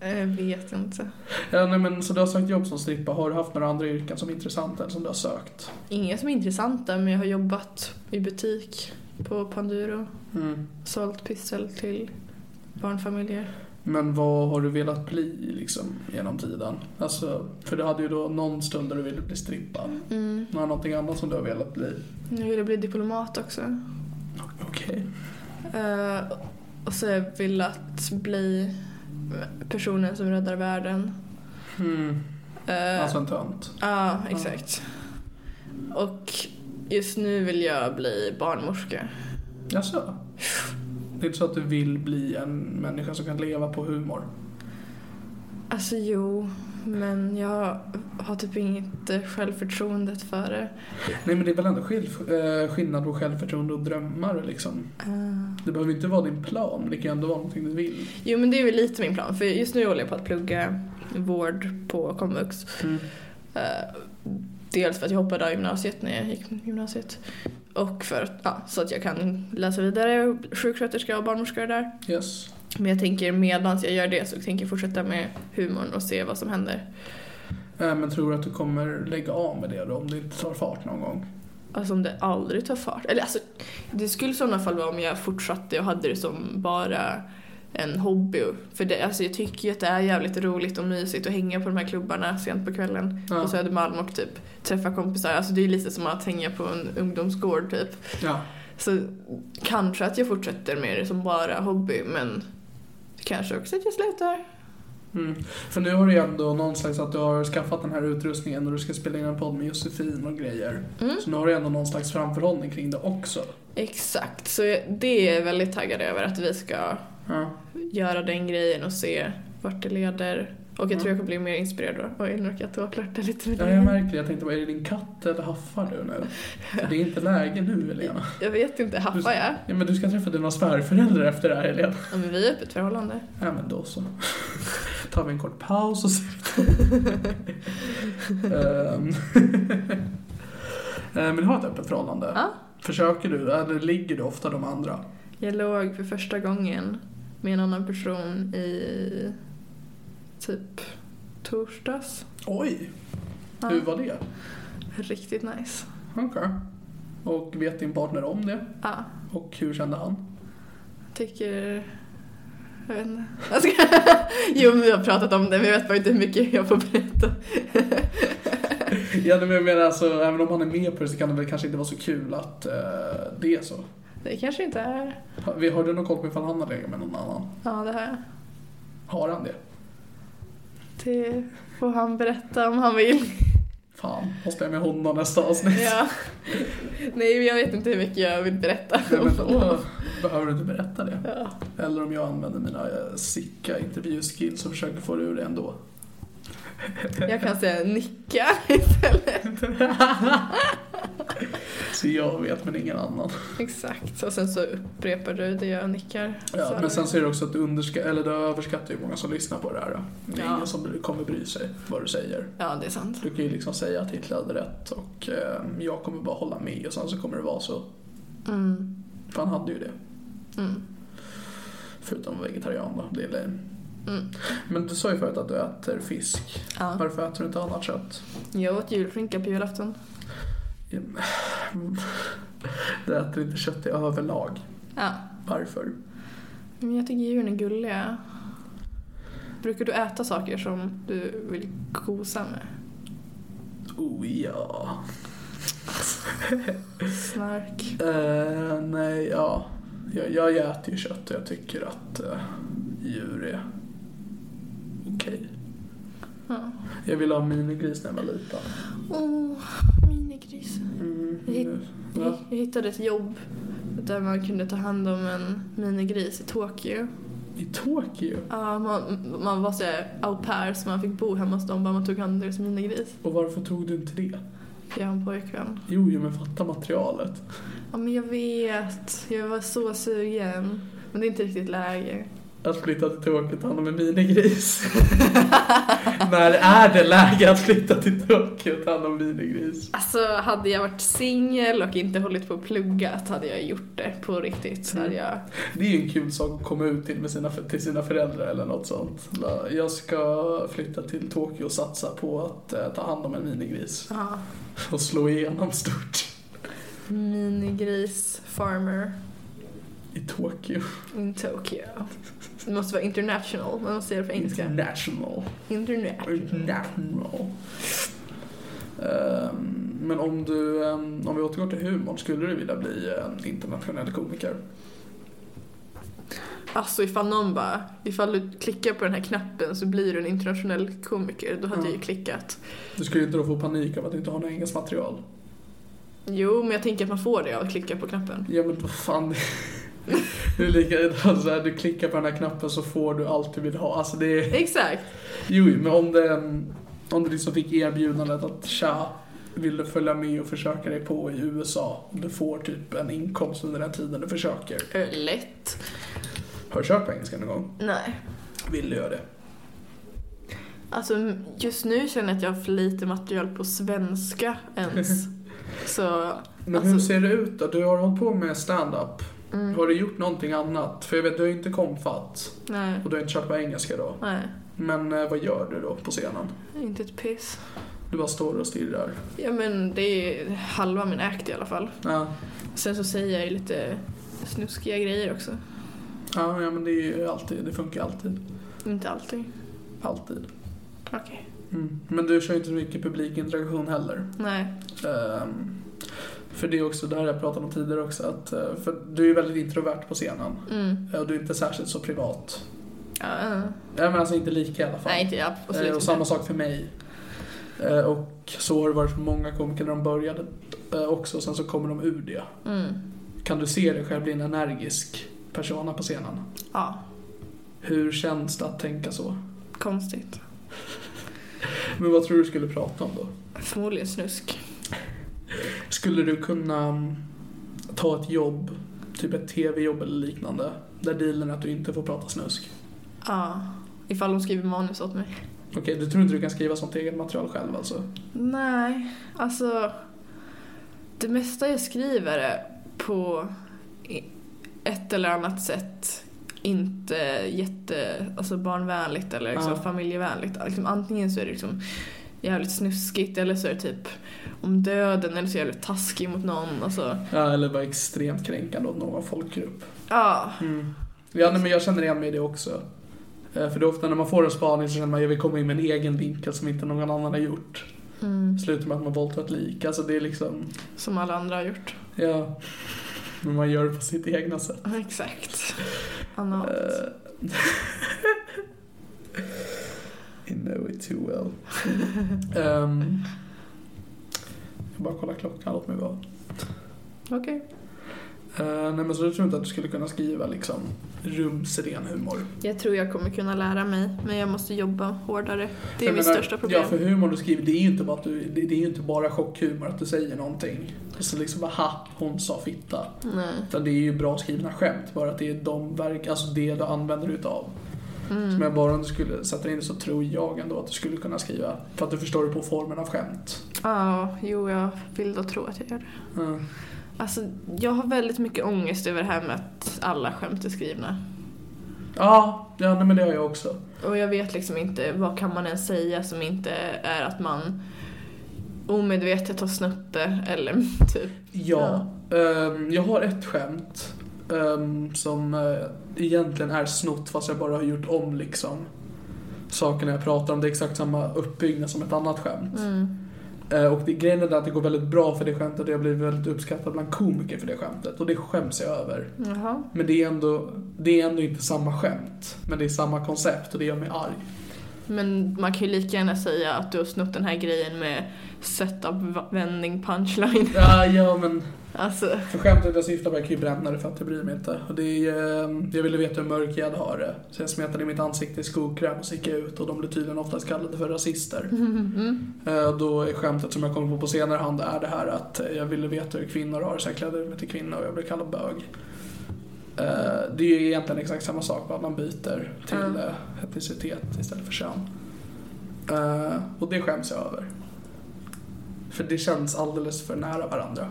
Speaker 3: Eh, jag vet inte.
Speaker 2: Ja, nej, men, så du har sökt jobb som strippa. Har du haft några andra yrken som är intressanta eller som du har sökt?
Speaker 3: Inga som är intressanta, men jag har jobbat i butik på Panduro. Sålt pyssel till barnfamiljer.
Speaker 2: Men vad har du velat bli liksom, genom tiden? Alltså, för du hade ju då någon stund där du ville bli strippa.
Speaker 3: Mm.
Speaker 2: Har du någonting annat som du har velat bli?
Speaker 3: Jag ville bli diplomat också.
Speaker 2: Okej.
Speaker 3: Eh, och så har jag velat bli personen som räddar världen.
Speaker 2: Mm.
Speaker 3: Eh,
Speaker 2: Alltså en tönt.
Speaker 3: Ja, exakt. Och just nu vill jag bli barnmorska.
Speaker 2: Jaså? Det är inte så att du vill bli en människa som kan leva på humor?
Speaker 3: Alltså jo, men jag har typ inte självförtroendet för det.
Speaker 2: Nej men det är väl ändå skill- eh, skillnad på självförtroende och drömmar liksom.
Speaker 3: Eh,
Speaker 2: Det behöver inte vara din plan, men det kan ju ändå vara någonting du vill.
Speaker 3: Jo men det är väl lite min plan för just nu håller jag på att plugga vård på komvux. Eh, dels för att jag hoppade av gymnasiet när jag gick gymnasiet. Och för att, ja, så att jag kan läsa vidare och bli sjuksköterska och barnmorska där.
Speaker 2: Yes.
Speaker 3: Men jag tänker medan jag gör det så tänker jag fortsätta med humorn och se vad som händer.
Speaker 2: Eh, Men tror du att du kommer lägga av med det då om det inte tar fart någon gång?
Speaker 3: Alltså om det aldrig tar fart. Eller alltså, det skulle i sådana fall vara om jag fortsatte och hade det som bara en hobby. För det, alltså jag tycker ju att det är jävligt roligt och mysigt att hänga på de här klubbarna sent på kvällen
Speaker 2: Ja.
Speaker 3: på Södermalm och typ träffa kompisar. Alltså det är ju lite som att hänga på en ungdomsgård typ.
Speaker 2: Ja.
Speaker 3: Så kanske att jag fortsätter med det som bara hobby men kanske också att jag slutar.
Speaker 2: Mm. För nu har du ju ändå någon slags att du har skaffat den här utrustningen och du ska spela in en podd med Josefin och grejer.
Speaker 3: Mm.
Speaker 2: Så nu har du ändå någon slags framförhållning kring det också.
Speaker 3: Exakt, så jag- det är jag väldigt taggad över att vi ska
Speaker 2: Ja.
Speaker 3: göra den grejen och se vart det leder. Och jag tror jag kommer bli mer inspirerad då. Oj, nu råkade jag tårtlörta lite med
Speaker 2: Ja, jag märker det. Jag tänkte, bara, är det din katt eller haffar du nu? För det är inte läge nu, Helena.
Speaker 3: Jag vet inte,
Speaker 2: Du,
Speaker 3: haffar jag?
Speaker 2: Ja, men du ska träffa dina svärföräldrar efter det här, Helena.
Speaker 3: Ja, men vi är öppet förhållande.
Speaker 2: Ja, men då så. Tar vi en kort paus och ser Ehm. Eh, Vill du ha ett öppet förhållande?
Speaker 3: Ja.
Speaker 2: Försöker du, eller ligger du ofta de andra?
Speaker 3: Jag låg för första gången med en annan person i typ torsdags.
Speaker 2: Oj!
Speaker 3: Ja.
Speaker 2: Hur var det?
Speaker 3: Riktigt nice.
Speaker 2: Okej. Och vet din partner om det?
Speaker 3: Ja,
Speaker 2: Och hur kände han?
Speaker 3: tycker... Jag vet inte. Jag ska... Jo, men vi har pratat om det men jag vet bara inte hur mycket jag får berätta.
Speaker 2: Ja, men jag menar alltså, även om han är med på det så kan det väl kanske inte vara så kul att eh, det är så.
Speaker 3: Det kanske inte är...
Speaker 2: Har vi- har du någon koll på ifall han har legat med någon annan?
Speaker 3: Ja, det har jag.
Speaker 2: Har han det?
Speaker 3: Det får han berätta om han vill.
Speaker 2: Fan, måste jag med honom nästa avsnitt?
Speaker 3: Ja. Nej, jag vet inte hur mycket jag vill berätta.
Speaker 2: Nej, men då behöver du inte berätta det.
Speaker 3: Ja.
Speaker 2: Eller om jag använder mina eh, sicka intervjuskills och försöker få det ur det ändå.
Speaker 3: Jag kan säga nicka istället.
Speaker 2: Så jag vet men ingen annan.
Speaker 3: Exakt, och sen så upprepar du det jag nickar.
Speaker 2: Ja,
Speaker 3: Så-
Speaker 2: men sen så är det också att du, underska- eller du överskattar ju många som lyssnar på det här. Då. Det är
Speaker 3: Ja.
Speaker 2: ingen som kommer bry sig vad du säger.
Speaker 3: ja, det är sant.
Speaker 2: Du kan ju liksom säga att Hitler hade rätt och eh, jag kommer bara hålla med och sen så kommer det vara så.
Speaker 3: Mm.
Speaker 2: För han hade ju det.
Speaker 3: Mm.
Speaker 2: Förutom vegetarian då, det är lame.
Speaker 3: Mm.
Speaker 2: Men du sa ju förut att du äter fisk.
Speaker 3: Ja.
Speaker 2: Varför äter du inte annat kött?
Speaker 3: Jag åt julskinka på julafton.
Speaker 2: Du äter inte kött i överlag.
Speaker 3: Ja.
Speaker 2: Varför?
Speaker 3: Men jag tycker djuren är gulliga. Brukar du äta saker som du vill kosa med?
Speaker 2: Oh ja.
Speaker 3: Snark.
Speaker 2: Eh, nej, ja. Jag, jag äter ju kött och jag tycker att eh, djur är okej.
Speaker 3: Ja.
Speaker 2: Jag ville ha minigris när jag var liten.
Speaker 3: Åh, oh, minigris.
Speaker 2: Mm,
Speaker 3: Jag hitt-
Speaker 2: nu- va?
Speaker 3: Jag hittade ett jobb där man kunde ta hand om en minigris i Tokyo.
Speaker 2: I Tokyo?
Speaker 3: Ja, man, man var såhär au pair så man fick bo hemma hos dem bara man tog hand om deras minigris.
Speaker 2: Och varför tog du inte det?
Speaker 3: Jag har en pojkvän.
Speaker 2: Jo, jo men fatta materialet.
Speaker 3: Ja men jag vet, jag var så sugen. Men det är inte riktigt läge.
Speaker 2: Att flytta till Tokyo och ta hand om en minigris. när är det läge att flytta till Tokyo och ta hand om minigris?
Speaker 3: Alltså hade jag varit singel och inte hållit på och pluggat hade jag gjort det på riktigt. Så hade jag...
Speaker 2: Det är ju en kul sak att komma ut till, med sina, till sina föräldrar eller något sånt. Bara, Jag ska flytta till Tokyo och satsa på att eh, ta hand om en minigris
Speaker 3: Ja.
Speaker 2: och slå igenom stort
Speaker 3: Minigris farmer
Speaker 2: i Tokyo.
Speaker 3: in Tokyo. Det måste vara international, man måste säga det på engelska.
Speaker 2: International.
Speaker 3: International.
Speaker 2: International. Ehm, Men om du, ehm, om vi återgår till humorn, skulle du vilja bli en internationell komiker?
Speaker 3: Alltså ifall någon bara, ifall du klickar på den här knappen så blir du en internationell komiker, då hade
Speaker 2: Ja.
Speaker 3: jag ju klickat.
Speaker 2: Du skulle ju inte då få panik av att du inte har något engelskt material.
Speaker 3: Jo, men jag tänker att man får det av att klicka på knappen.
Speaker 2: Ja men vad fan. Det är lika, alltså, här, du klickar på den här knappen så får du allt du vill ha. Alltså det är...
Speaker 3: Exakt!
Speaker 2: Jo, jo, men om det, om du liksom fick erbjudandet att tja, vill du följa med och försöka dig på i USA? Om du får typ en inkomst under den tiden du försöker.
Speaker 3: Ö, Eh, Lätt.
Speaker 2: Har du kört på engelska någon gång?
Speaker 3: Nej.
Speaker 2: Vill du göra det?
Speaker 3: Alltså just nu känner jag att jag har för lite material på svenska ens. Så
Speaker 2: Men hur
Speaker 3: Alltså- Mm.
Speaker 2: ser det ut då? Du har hållit på med stand-up. Har du gjort någonting annat? För jag vet, du har ju inte komfat
Speaker 3: nej,
Speaker 2: och du har inte kört på engelska då.
Speaker 3: nej,
Speaker 2: Men eh, vad gör du då på scenen?
Speaker 3: inte ett piss.
Speaker 2: Du bara står och stirrar.
Speaker 3: Ja men det är halva min act i alla fall.
Speaker 2: Ja,
Speaker 3: Sen så säger jag ju lite snuskiga grejer också.
Speaker 2: ja, ja men det är ju alltid, det funkar alltid.
Speaker 3: Inte allting.
Speaker 2: Alltid.
Speaker 3: Okej.
Speaker 2: Mm. Men du kör ju inte så mycket publikinteraktion heller.
Speaker 3: Nej.
Speaker 2: Ehm, för det är också det här jag pratade om tidigare också. Att, eh, för du är ju väldigt introvert på scenen.
Speaker 3: Mm.
Speaker 2: Eh, Och du är inte särskilt så privat.
Speaker 3: Ja, ja.
Speaker 2: Nej men alltså inte lika i alla fall.
Speaker 3: nej inte jag.
Speaker 2: Eh,
Speaker 3: Absolut
Speaker 2: och samma
Speaker 3: inte.
Speaker 2: sak för mig. Eh, och så har det varit för många komiker när de började eh, också. Sen så kommer de ur det.
Speaker 3: Mm.
Speaker 2: Kan du se dig själv bli en energisk persona på scenen?
Speaker 3: Ja,
Speaker 2: Hur känns det att tänka så?
Speaker 3: konstigt.
Speaker 2: Men vad tror du skulle prata om då?
Speaker 3: Förmodligen snusk.
Speaker 2: Skulle du kunna mm, ta ett jobb, typ ett tv-jobb eller liknande, där dealen är att du inte får prata snusk?
Speaker 3: Ja. Ifall de skriver manus åt mig.
Speaker 2: Okej, du tror inte du kan skriva sånt eget material själv alltså?
Speaker 3: Nej, alltså det mesta jag skriver är på i- ett eller annat sätt inte jätte, alltså barnvänligt eller liksom
Speaker 2: Ja.
Speaker 3: familjevänligt. Liksom, antingen så är det liksom jävligt snuskigt eller så är det typ om döden eller så är jag jävligt taskig mot någon. Alltså,
Speaker 2: Ja, eller vara extremt kränkande åt någon folkgrupp.
Speaker 3: ja,
Speaker 2: Mm. Ja, nej, men jag känner igen mig i det också. Eh, För det är ofta när man får en spaning så känner man jag vill komma in med en egen vinkel som inte någon annan har gjort. Slutar med att man våldtar ett lik. Alltså det är liksom,
Speaker 3: som alla andra har gjort.
Speaker 2: ja. Men man gör det på sitt egna sätt.
Speaker 3: Exakt. Annat.
Speaker 2: I know it too well. Ehm, jag bara kollar klockan, låt mig vara.
Speaker 3: Okej.
Speaker 2: Eh, nej men så du tror inte att du skulle kunna skriva liksom rumsren humor?
Speaker 3: Jag tror jag kommer kunna lära mig men jag måste jobba hårdare. Det är
Speaker 2: Jag
Speaker 3: mitt
Speaker 2: menar,
Speaker 3: största problem.
Speaker 2: Ja, för humor du skriver, det är ju inte bara, att du, det, det är ju inte bara chockhumor att du säger någonting. Och så liksom bara, ha, hon sa fitta.
Speaker 3: Nej.
Speaker 2: Utan det är ju bra skrivna skämt, bara att det är de verk, alltså det du använder utav. Mm. Men bara om du skulle sätta in det så tror jag ändå att du skulle kunna skriva, för att du förstår det på formen av skämt.
Speaker 3: Ja, jo jag vill då tro att jag gör det.
Speaker 2: Mm.
Speaker 3: Alltså jag har väldigt mycket ångest över det här med att alla skämt är skrivna.
Speaker 2: Ja, ja nej, men det har jag också.
Speaker 3: Och jag vet liksom inte vad kan man ens säga som inte är att man omedvetet har snott det eller typ.
Speaker 2: Ja, ehm, jag har ett skämt ehm, som eh, egentligen är snott fast jag bara har gjort om liksom sakerna jag pratar om. Det är exakt samma uppbyggnad som ett annat skämt. Eh, och det, grejen är att det går väldigt bra för det skämtet och jag blir väldigt uppskattad bland komiker för det skämtet. Och det skäms jag över.
Speaker 3: Jaha.
Speaker 2: Men det är ändå, det är ändå inte samma skämt. Men det är samma koncept och det gör mig arg.
Speaker 3: Men man kan ju lika gärna säga att du har snott den här grejen med setup, va- vändning, punchline.
Speaker 2: Ja, ja men
Speaker 3: Alltså,
Speaker 2: För skämtet jag syftar på jag kan ju bränna det för att jag bryr mig inte. Och det är, eh, jag ville veta hur mörk jag hade har det. Så jag smetade i mitt ansikte i skokräm och så gick jag ut och de blev tydligen oftast kallade för rasister. Eh, och då är skämtet som jag kommer på på senare hand är det här att eh, jag ville veta hur kvinnor har det så jag klädde mig till kvinna och jag blev kallad bög. Eh, det är ju egentligen exakt samma sak bara att man byter till
Speaker 3: Mm.
Speaker 2: eh, etnicitet istället för kön. Eh, och det skäms jag över. För det känns alldeles för nära varandra.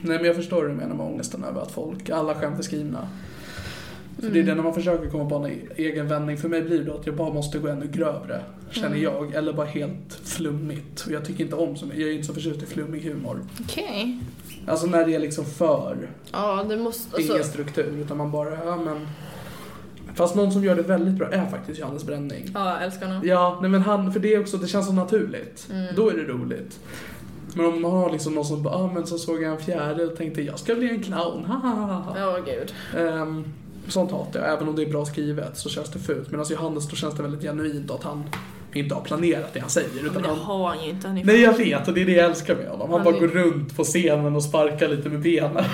Speaker 2: Nej men jag förstår hur du menar med ångesten över att folk, alla skämt är skrivna. För det är det när man försöker komma på en e- egen vändning. För mig blir det att jag bara måste gå ännu grövre, känner jag. Eller bara helt flummigt. Och jag tycker inte om så mycket, jag är inte så förtjust i flummig humor.
Speaker 3: okej.
Speaker 2: Alltså när det är liksom för,
Speaker 3: Ja, det måste... Alltså,
Speaker 2: ingen struktur. Utan man bara, ja men. Fast någon som gör det väldigt bra är faktiskt Johannes Bränning.
Speaker 3: ja, jag älskar honom.
Speaker 2: Ja, nej men han, för det är också, det känns så naturligt. Då är det roligt. Men om man har liksom någon som bara, ah, men så såg jag en fjäril och tänkte jag ska bli en clown, ha, ha, ha, ha.
Speaker 3: Ja, gud.
Speaker 2: Ehm, Sånt hatar jag, även om det är bra skrivet så känns det fult. Medan Johannes då känns det väldigt genuint att han inte har planerat det han säger.
Speaker 3: Men
Speaker 2: Utan
Speaker 3: det
Speaker 2: han,
Speaker 3: har han ju inte. Han är
Speaker 2: nej jag vet och det är det jag älskar med honom. Han,
Speaker 3: Han
Speaker 2: bara
Speaker 3: är-
Speaker 2: går runt på scenen och sparkar lite med benen.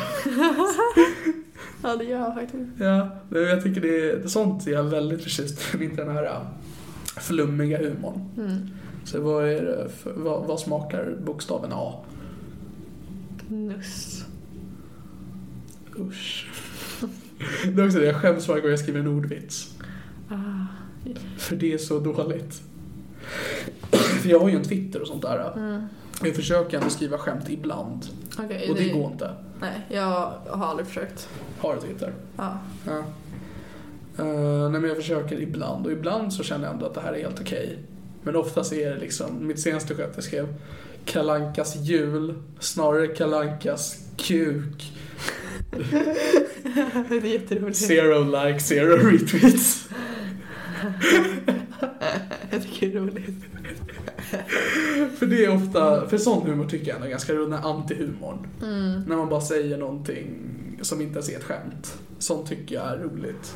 Speaker 3: Ja, det gör han faktiskt.
Speaker 2: ja, men jag tycker det är, sånt är jag väldigt förtjust i, inte den här äh, flummiga humorn. Så vad, är det för, vad, vad smakar bokstaven A?
Speaker 3: Nuss.
Speaker 2: Usch. Det är också det, jag skäms varje gång jag skriver en ordvits.
Speaker 3: Ah.
Speaker 2: För det är så dåligt. För jag har ju en Twitter och sånt där. Jag försöker ändå skriva skämt ibland.
Speaker 3: Okej,
Speaker 2: Och det går inte.
Speaker 3: Nej, jag har aldrig försökt.
Speaker 2: Har du Twitter?
Speaker 3: Ja.
Speaker 2: Ja. Eh, nej men jag försöker ibland och ibland så känner jag ändå att det här är helt okej. Men oftast är det liksom, mitt senaste skämt jag skrev Kalankas jul snarare Kalankas kuk.
Speaker 3: Det är jätteroligt.
Speaker 2: Zero like, zero retweets.
Speaker 3: Jag tycker det är roligt.
Speaker 2: För det är ofta, för sån humor tycker jag ändå är ganska rolig, den här antihumorn. När man bara säger någonting som inte ens är ett skämt. Sånt tycker jag är roligt.